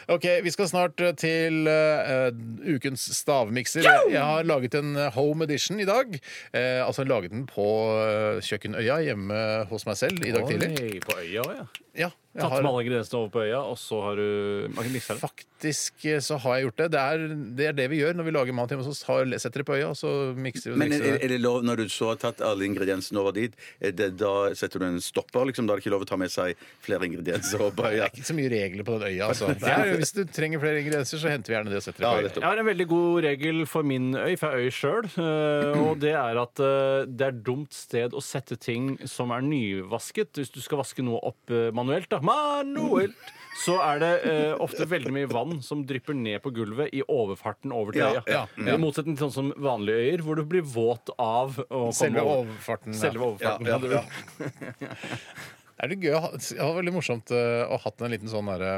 Ok, Vi skal snart eh, til eh, ukens stavmikser. Jeg har laget en eh, home edition i dag. Eh, altså laget den på eh, kjøkkenøya hjemme hos meg selv i dag tidlig. Oi, på øya òg, ja. Ja, Jeg Tatt har- med alle ingrediensene over på øya, og så har du Man kan mikse det. Faktisk eh, så har jeg gjort det. Det er det, er det vi gjør når vi lager mat hjemme hos oss. Har- Setter det på øya, og så mikser vi Men mikser er, det. er det lov, når du så har tatt alle ingrediensene over dit, er det, da setter du en stopper? liksom Da er det ikke lov å ta med seg flere ingredienser? Og bare, ja. Det er ikke så mye regler på den [laughs] øya, altså. Det er, hvis du trenger flere ingredienser, så henter vi gjerne det og setter det Ja, på øya. nettopp. Jeg har en veldig god regel for min øy, for jeg er øy sjøl. Og det er at eh, det er dumt sted å sette ting som er nyvasket. Hvis du skal vaske noe opp eh, manuelt, da. Manuelt! Så er det eh, ofte veldig mye vann som drypper ned på gulvet i overfarten over til Ja, øya. ja, ja. I motsetning til sånn som vanlige øyer, hvor du blir våt av å komme Selve over. overfarten, ja. Selve overfarten. Ja, ja, hadde ja. du. Er det gøy å ha Det var veldig morsomt eh, å ha hatt en liten sånn derre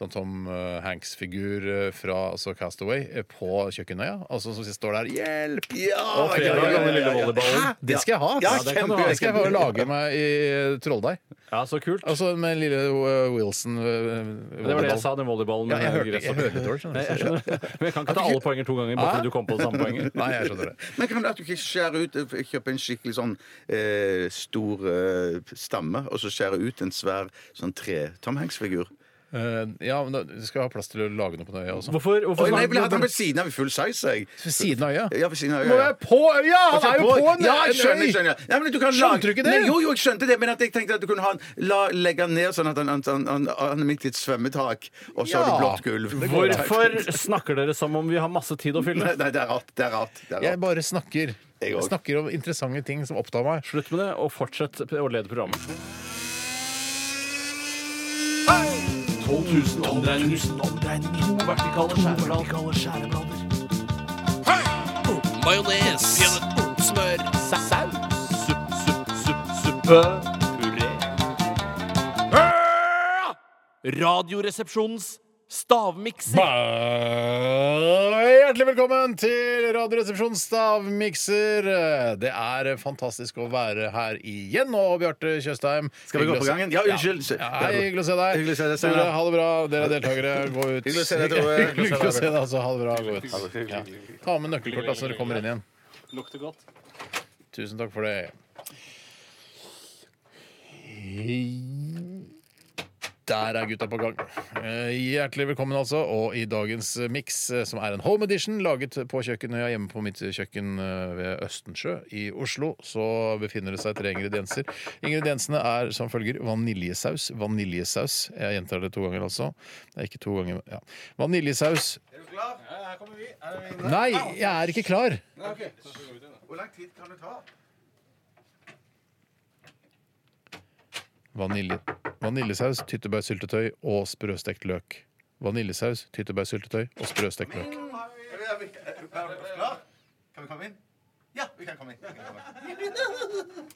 Sånn Tom eh, Hanks-figur eh, fra altså Castaway eh, på kjøkkenøya. Altså som står der 'Hjelp!' Ja! Og fredag ja, ja, og den lille ja, ja. volleyballen. Hæ? Det skal jeg ha! Ja, det kan du ha. Det skal jeg bare lage meg i eh, trolldeig. Ja, så kult. Altså med en lille eh, Wilson eh, volleyball. Det var det jeg sa, den volleyballen. Ja, jeg med hørte- jeg gress og- hørte det dårlig, skjønner du. Nei, jeg skjønner. [laughs] Men jeg kan ikke ta alle poenger to ganger. Bare Hæ? fordi du kom på det samme [laughs] poenget. Nei, jeg skjønner det. Men kan du at du ikke skjære ut eh, Kjøpe en skikkelig sånn eh, stor eh, stamme, og så skjære ut en svær sånn tre-Tom Hanks-figur? Eh, ja, men da, du skal ha plass til å lage noe på den øya også. Hvorfor, Å, nei, jeg ville hatt den ved siden av i full size. Jeg. Ved siden av øya? Ja, ved siden av Må øya. være på øya! Han Altså, er jo på en, ja, jeg en skjønner, øy! jeg skjønner. Nei, men du kan Skjønte lage- du ikke det? Nei, jo, jo, jeg skjønte det, men at jeg tenkte at du kunne ha en, la, legge den ned sånn at han, han, han, han, han er midt i et svømmetak, og så har Ja. du blått gulv. Det går bra. Hvorfor snakker dere som om vi har masse tid å fylle? [laughs] Nei, nei, det er rart. Det er rart. Det er Jeg rart. bare snakker. Jeg Jeg også. snakker om interessante ting som opptar meg. Slutt med det, og fortsett å lede programmet. 12 000 omdreininger. 12 000 omdreininger. To vertikale skjæreblader. Majones. Smør. Saus. Supp, supp, supp, suppe. Puré. Ah! Radioresepsjonens stavmikser. Hjertelig velkommen til Radioresepsjonens stavmikser. Det er fantastisk å være her igjen nå, Bjarte Tjøstheim. Skal vi gå Hyggelig å på se- gangen? Ja, unnskyld. Ja, hei, hyggelig å se deg. Hyggelig å se deg, Steinar. Tore, ha det bra. Dere er deltakere, gå [laughs] ut. Hyggelig å se deg, Tore. Hyggelig å se deg, altså. Ha det bra, gå ut. Ja. Ta med nøkkelkortet altså, når du kommer inn igjen. Lukter godt. Tusen takk for det. Der er gutta på gang. Eh, Hjertelig velkommen, altså. Og i dagens miks, som er en home edition laget på kjøkkenet hjemme på mitt kjøkken eh, ved Østensjø i Oslo, så befinner det seg tre ingredienser. Ingrediensene er som følger vaniljesaus. Vaniljesaus. Jeg gjentar det to ganger, altså. Det er ikke to ganger, ja. Vaniljesaus. Nei, jeg er ikke klar. Hvor lang tid kan det ta? Vanilje. Vaniljesaus, tyttebærsyltetøy og sprøstekt løk. Vaniljesaus, tyttebærsyltetøy og sprøstekt løk. Kan vi komme inn? Ja, vi kan komme inn.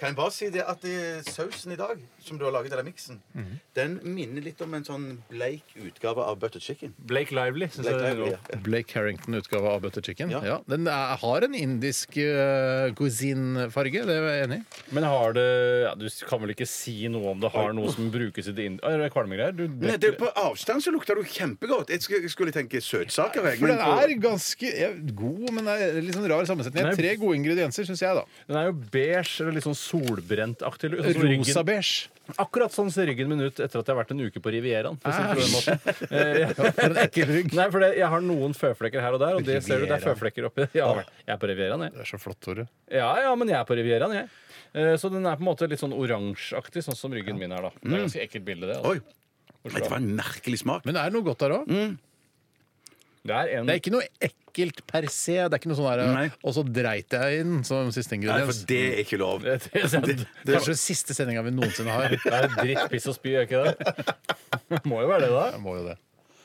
Kan jeg bare si det at eh, sausen i dag, som du har laget, eller miksen, Mhm. den minner litt om en sånn bleik utgave av butter chicken. Blake Lively. Synes Blake jeg det er Lively, godt. ja. Blake Harrington-utgave av Butter Chicken. Ja. Ja. den er, har en indisk uh, cuisine-farge, det er jeg enig i. Men har det ja, Du kan vel ikke si noe om det har noe som brukes i det ind... Er det kvalmegreier? Du Nei, det, på avstand så lukter det jo kjempegodt. Jeg skulle, jeg skulle tenke søtsaker. Jeg, For men den på- er ganske ja, god, men det er litt sånn rar sammensetning. Det er Tre gode ingredienser, syns jeg, da. Den er jo beige eller litt sånn solbrent-aktig. Sånn som ryggen- Rosa-beige. Akkurat sånn ser ryggen min ut etter at jeg har vært en uke på Rivieraen. For å si det på den måten. Eh, jeg- For en ekkel rygg. Nei, for det, Jeg har noen føflekker her og der, og det ser du, det er Rivieraen. føflekker oppi. Ja, jeg er på Rivieraen, jeg. Det er så flott, Tore. Ja, ja, men jeg er på Rivieraen, jeg. Eh, Så den er på en måte litt sånn oransjeaktig, sånn som ryggen min er, Mm. da. Det er ganske ekkelt bilde, det. Oi. Altså. Nei, det var en merkelig smak. Men det er noe godt der òg. Det er en Det er ikke noe ekkelt per se. Det er ikke noe sånn Nei. der, Og så dreit jeg inn som siste Nei, for ingrediens. det er ikke lov. [laughs] Det er- Det er kanskje den siste sendinga vi noensinne har. det er dritt, piss og spy, er [laughs] ikke det? Må jo være det, da. Jeg må jo det.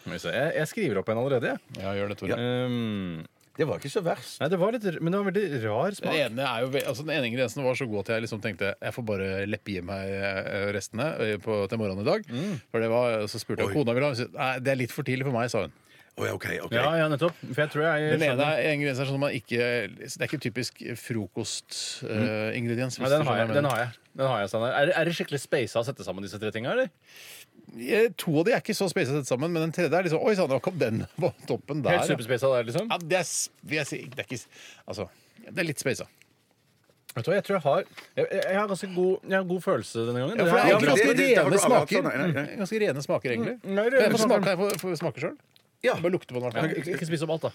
Skal vi se, Jeg, jeg skriver opp en allerede, jeg. Ja, gjør det, Tore. Um, Det var ikke så verst. nei, det var litt, r- men det var veldig rar Den smak. ene, er jo, ve- altså den ene ingrediensen var så god at jeg liksom tenkte jeg får bare leppegi meg eh, restene eh, på, til morgenen i dag. Mm. For det var, Så spurte jeg om kona ville ha. Hun sa, Nei, det er litt for tidlig for meg, sa hun. Å, ja, ok, ok. Ja, ja, nettopp. For jeg tror jeg Den ene er ingrediensen er sånn at man ikke Det er ikke typisk eh, frokostingrediens. Nei, Mm. den har jeg. Den har jeg. Den har jeg Steinar. er, det- er det skikkelig speisa å sette sammen disse tre tinga, eller? Eh, To av de er ikke så spesa sett sammen, men den tredje er liksom Oi sann, nå kom den [laughs] på toppen der. Helt ja. superspeisa der, liksom? Ja, det er, s- vil jeg si, det er ikke s- Altså, det er litt speisa. Vet du hva, jeg tror jeg har Jeg, jeg, jeg har ganske god, jeg har god følelse denne gangen. Ja, for det er Jeg har egentlig- ganske det- det- det har rene du aldri hatt smaker. sånn. Nei, nei, nei. Ganske rene smaker, egentlig. Mm, nei, Kan rene jeg få smaker. smake- Kan jeg få- få smake sjøl? Ja. Bare lukte på den. Ja, ikke, ikke spis opp alt, da.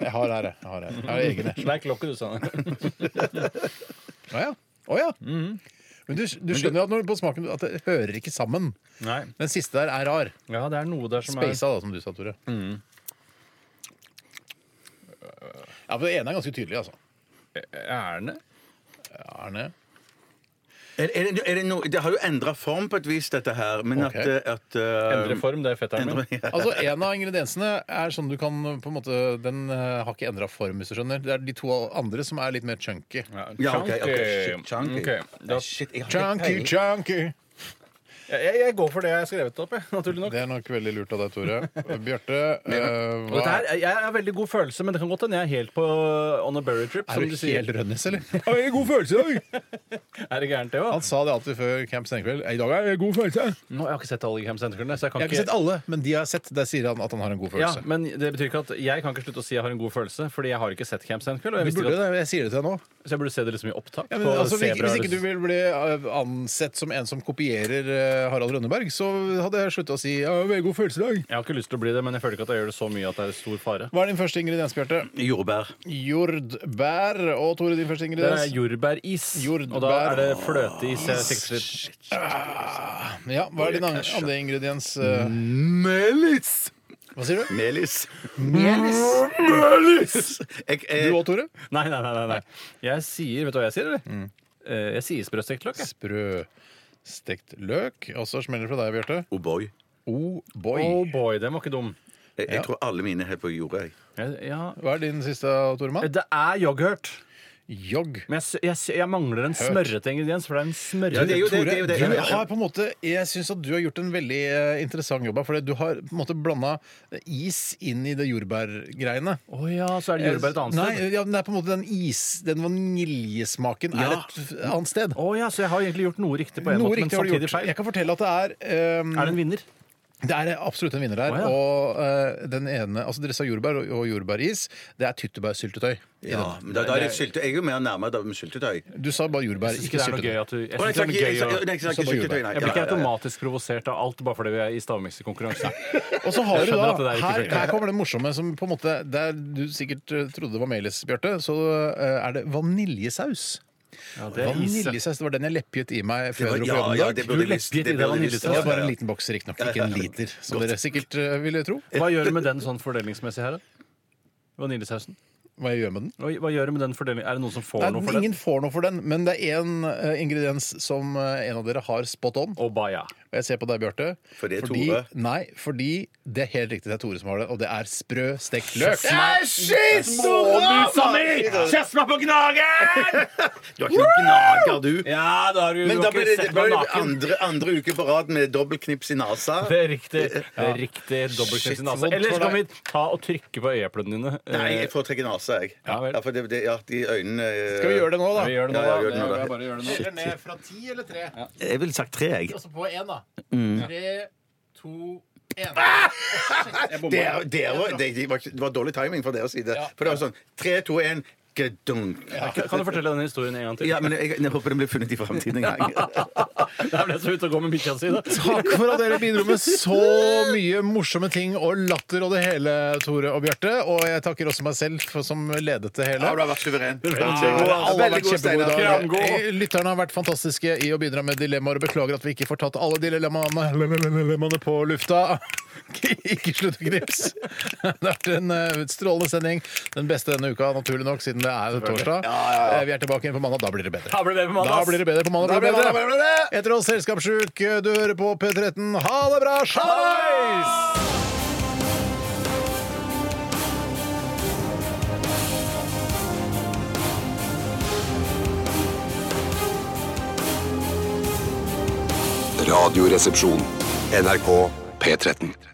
Jeg har her, jeg. Jeg har, her. Jeg har egen, jeg. Sleik lokket, du, [laughs] Sanne. Å ja. Å ja. Men du, du skjønner at når, på smaken at det hører ikke sammen. Den siste der er rar. Ja, det er noe der som er- Spasa, da, som du sa, Tore. Ja, for Det ene er ganske tydelig, altså. Erne? Erne? Er, er det, er det, noe- det har jo endra form på et vis, dette her. Men Ok. at, at eh, Endre form, det er fetteren min. endre- [laughs] ja. Altså, En av ingrediensene er sånn du kan på en måte Den eh, har ikke endra form, hvis du skjønner. Det er de to andre som er litt mer chunky. Ja, ok, ok. Shit, chunky. Ok, da- Shit, jeg har ikke chunky, peiling. chunky. Jeg, jeg, jeg går for det jeg har skrevet opp, jeg, naturlig nok. Det er nok veldig lurt av deg, [laughs] Tore. Bjarte, eh, Og hva dette her, jeg- jeg har veldig god følelse, men det kan godt hende jeg er helt på uh, on a berry trip. Er som du du sier. helt rønnis, eller? Jeg har god følelse i dag! [laughs] er det gærent, det òg? Han sa det alltid før Camp Senkveld. I dag er det god følelse. Nå, jeg har ikke sett alle Camp Senterkveld, så jeg Jeg kan har ikke sett alle, men de jeg har sett, der sier han at han har en god Ja, følelse. men det betyr ikke at jeg kan ikke slutte å si jeg har en god følelse, fordi jeg har ikke sett Camp Senterkveld. Og jeg du visste burde ikke at, det, jeg sier det til deg nå. så jeg burde se det liksom i opptak. Ja, men, på altså, hvis, Sebra hvis eller- ikke du vil bli eh, ansett som en som kopierer eh, Harald Rønneberg, så hadde jeg slutta å si ja, veldig god følelse i dag. Jeg har ikke lyst til å bli det, men jeg føler ikke at jeg gjør det så mye at det er stor fare. Hva er din første ingrediens, Bjarte? Jordbær. Jordbær. Og Tore, din første Det er ingrediens? jordbæris, og da Jordbær. er det fløteis. Jeg sikter til. Ah, Ja, Hva er din an- andre ingrediens? eh? Melis! Hva sier du? Melis. Jeg, Du jeg, òg, Tore? [laughs] Nei, nei, nei, nei, nei. Jeg sier, vet du hva jeg sier, eller? Mm. Eh, Jeg sier sprøstekt løk. jeg. Sprø stekt løk. Og så smeller det fra deg, Bjarte. oh boy. Oh boy. Oh boy, den var ikke dum. Jeg, jeg tror alle mine er helt på jordet. jeg. Jeg, ja. Hva er din siste, Toremann? Det er yoghurt, Jogg. men jeg, sy- jeg, sy- jeg mangler en smørrete ingrediens. For det er en smørrete Ja, det er jo det. Tore, det, er jo det. du har på en måte Jeg syns at du har gjort en veldig eh, interessant jobb her. For du har på en måte blanda is inn i det jordbærgreiene. Å ja, så er det jordbær et annet Nei, sted. ja, men det er på en måte den is Den vaniljesmaken er Ja. et f- annet sted. Å ja, så jeg har egentlig gjort noe riktig på en Noe måte, men riktig har du samtidig gjort. feil. Jeg kan fortelle at det er eh, Er det en vinner? Det er absolutt en vinner her. Å, ja. Og eh, den ene Altså dere sa jordbær og, og jordbæris. Det er tyttebærsyltetøy. i Ja, den. men da, da er det sylte, jeg er jo mer nærmere da med syltetøy. Du sa bare jordbær, Jeg syns ikke ikke det er noe syltetøy. gøy at du jeg Å, synes jeg sa ikke- ikke det er noe jeg gøy sa- å nei, jeg sa ikke Så bare syltetøy, nei. Jeg blir Ja, ikke ja, ja. automatisk provosert av alt bare fordi vi er i [laughs] stavmiksekonkurranse. Og så har Jeg du da, skjønner at det der ikke her, funker. her kommer det morsomme som på en måte Der du sikkert eh, trodde det var melis, Bjarte, så eh, er det vaniljesaus. Ja, det er is. ja. Vaniljesaus, Det var den jeg leppet i meg før jeg Det dro på var- jobb ja, i ja, dag. det burde Du list- lepper i det det burde list- Det var bare en ja. liten boks, riktignok. [laughs] Ikke en liter, som dere sikkert eh, ville tro. Hva gjør du med den sånn fordelingsmessig her? da? Vaniljesausen. Hva jeg gjør med den? Hva hva gjør du med den fordelingen? Er det noen som får Nei, noe for den? ingen får noe for den, men det er én ingrediens som eh, en av dere har spot on. Og baya. Og jeg ser på deg, Bjarte. For det er fordi, Tore. Nei, fordi det er helt riktig det er Tore som har det, og det er sprø stekt løk. sånn- Smånusa mi! Kjess meg på gnagen! Du er ikke noen gnager, du. [laughs] Ja, da har du, Men du da har blir det, ikke det sett blir meg det naken. andre, andre uke på rad med dobbeltknips i nesa. Det er riktig. Det er riktig dobbeltknips i Shit, nasa. vondt Eller så for kan vi ta og trykke på øyeeplene dine. Eh, Nei, jeg foretrekker nesa, jeg. Ja, vel. Ja, for det, det, ja, de øynene eh, Skal vi gjøre det nå, da? Vi gjør det nå, Ja, ja, da. gjør det nå, da. Vi bare gjør det nå. Teller ned fra ti eller tre? Jeg ville sagt tre, jeg. Mm. Altså på én, da. Tre, to, én. Det, er- det, er jo- det, det, var, det var dårlig timing fra deres side. For det var sånn tre, to, én, gedunk. Kan- Kan du fortelle denne historien en gang til? Ja, men jeg, jeg håper den blir funnet i fremtiden en gang. [laughs] Det er vel det som er ute og går med bikkja [laughs] si. da. Takk for at dere bidro med så mye morsomme ting og latter og det hele, Tore og Bjarte. Og jeg takker også meg selv for, som ledet det hele. har vært suveren. Alle har vært kjempegode i dag. Kramgod. Eh, Lytterne har vært fantastiske i å bidra med dilemmaer, og beklager at vi ikke får tatt alle dilemmaene, dilemmaene på lufta. [laughs] ikke slutt å knipse. Det har vært en eh, strålende sending. Den beste denne uka, naturlig nok, siden det er torsdag. Eh, Vi er tilbake igjen på mandag. Da blir det bedre. Da blir det på mandag. Da blir det bedre på mandag. Blir det bedre. Etter oss Selskapssjuk, eh, du hører på P13. Ha det bra! Sjalais! Radioresepsjon. NRK P13.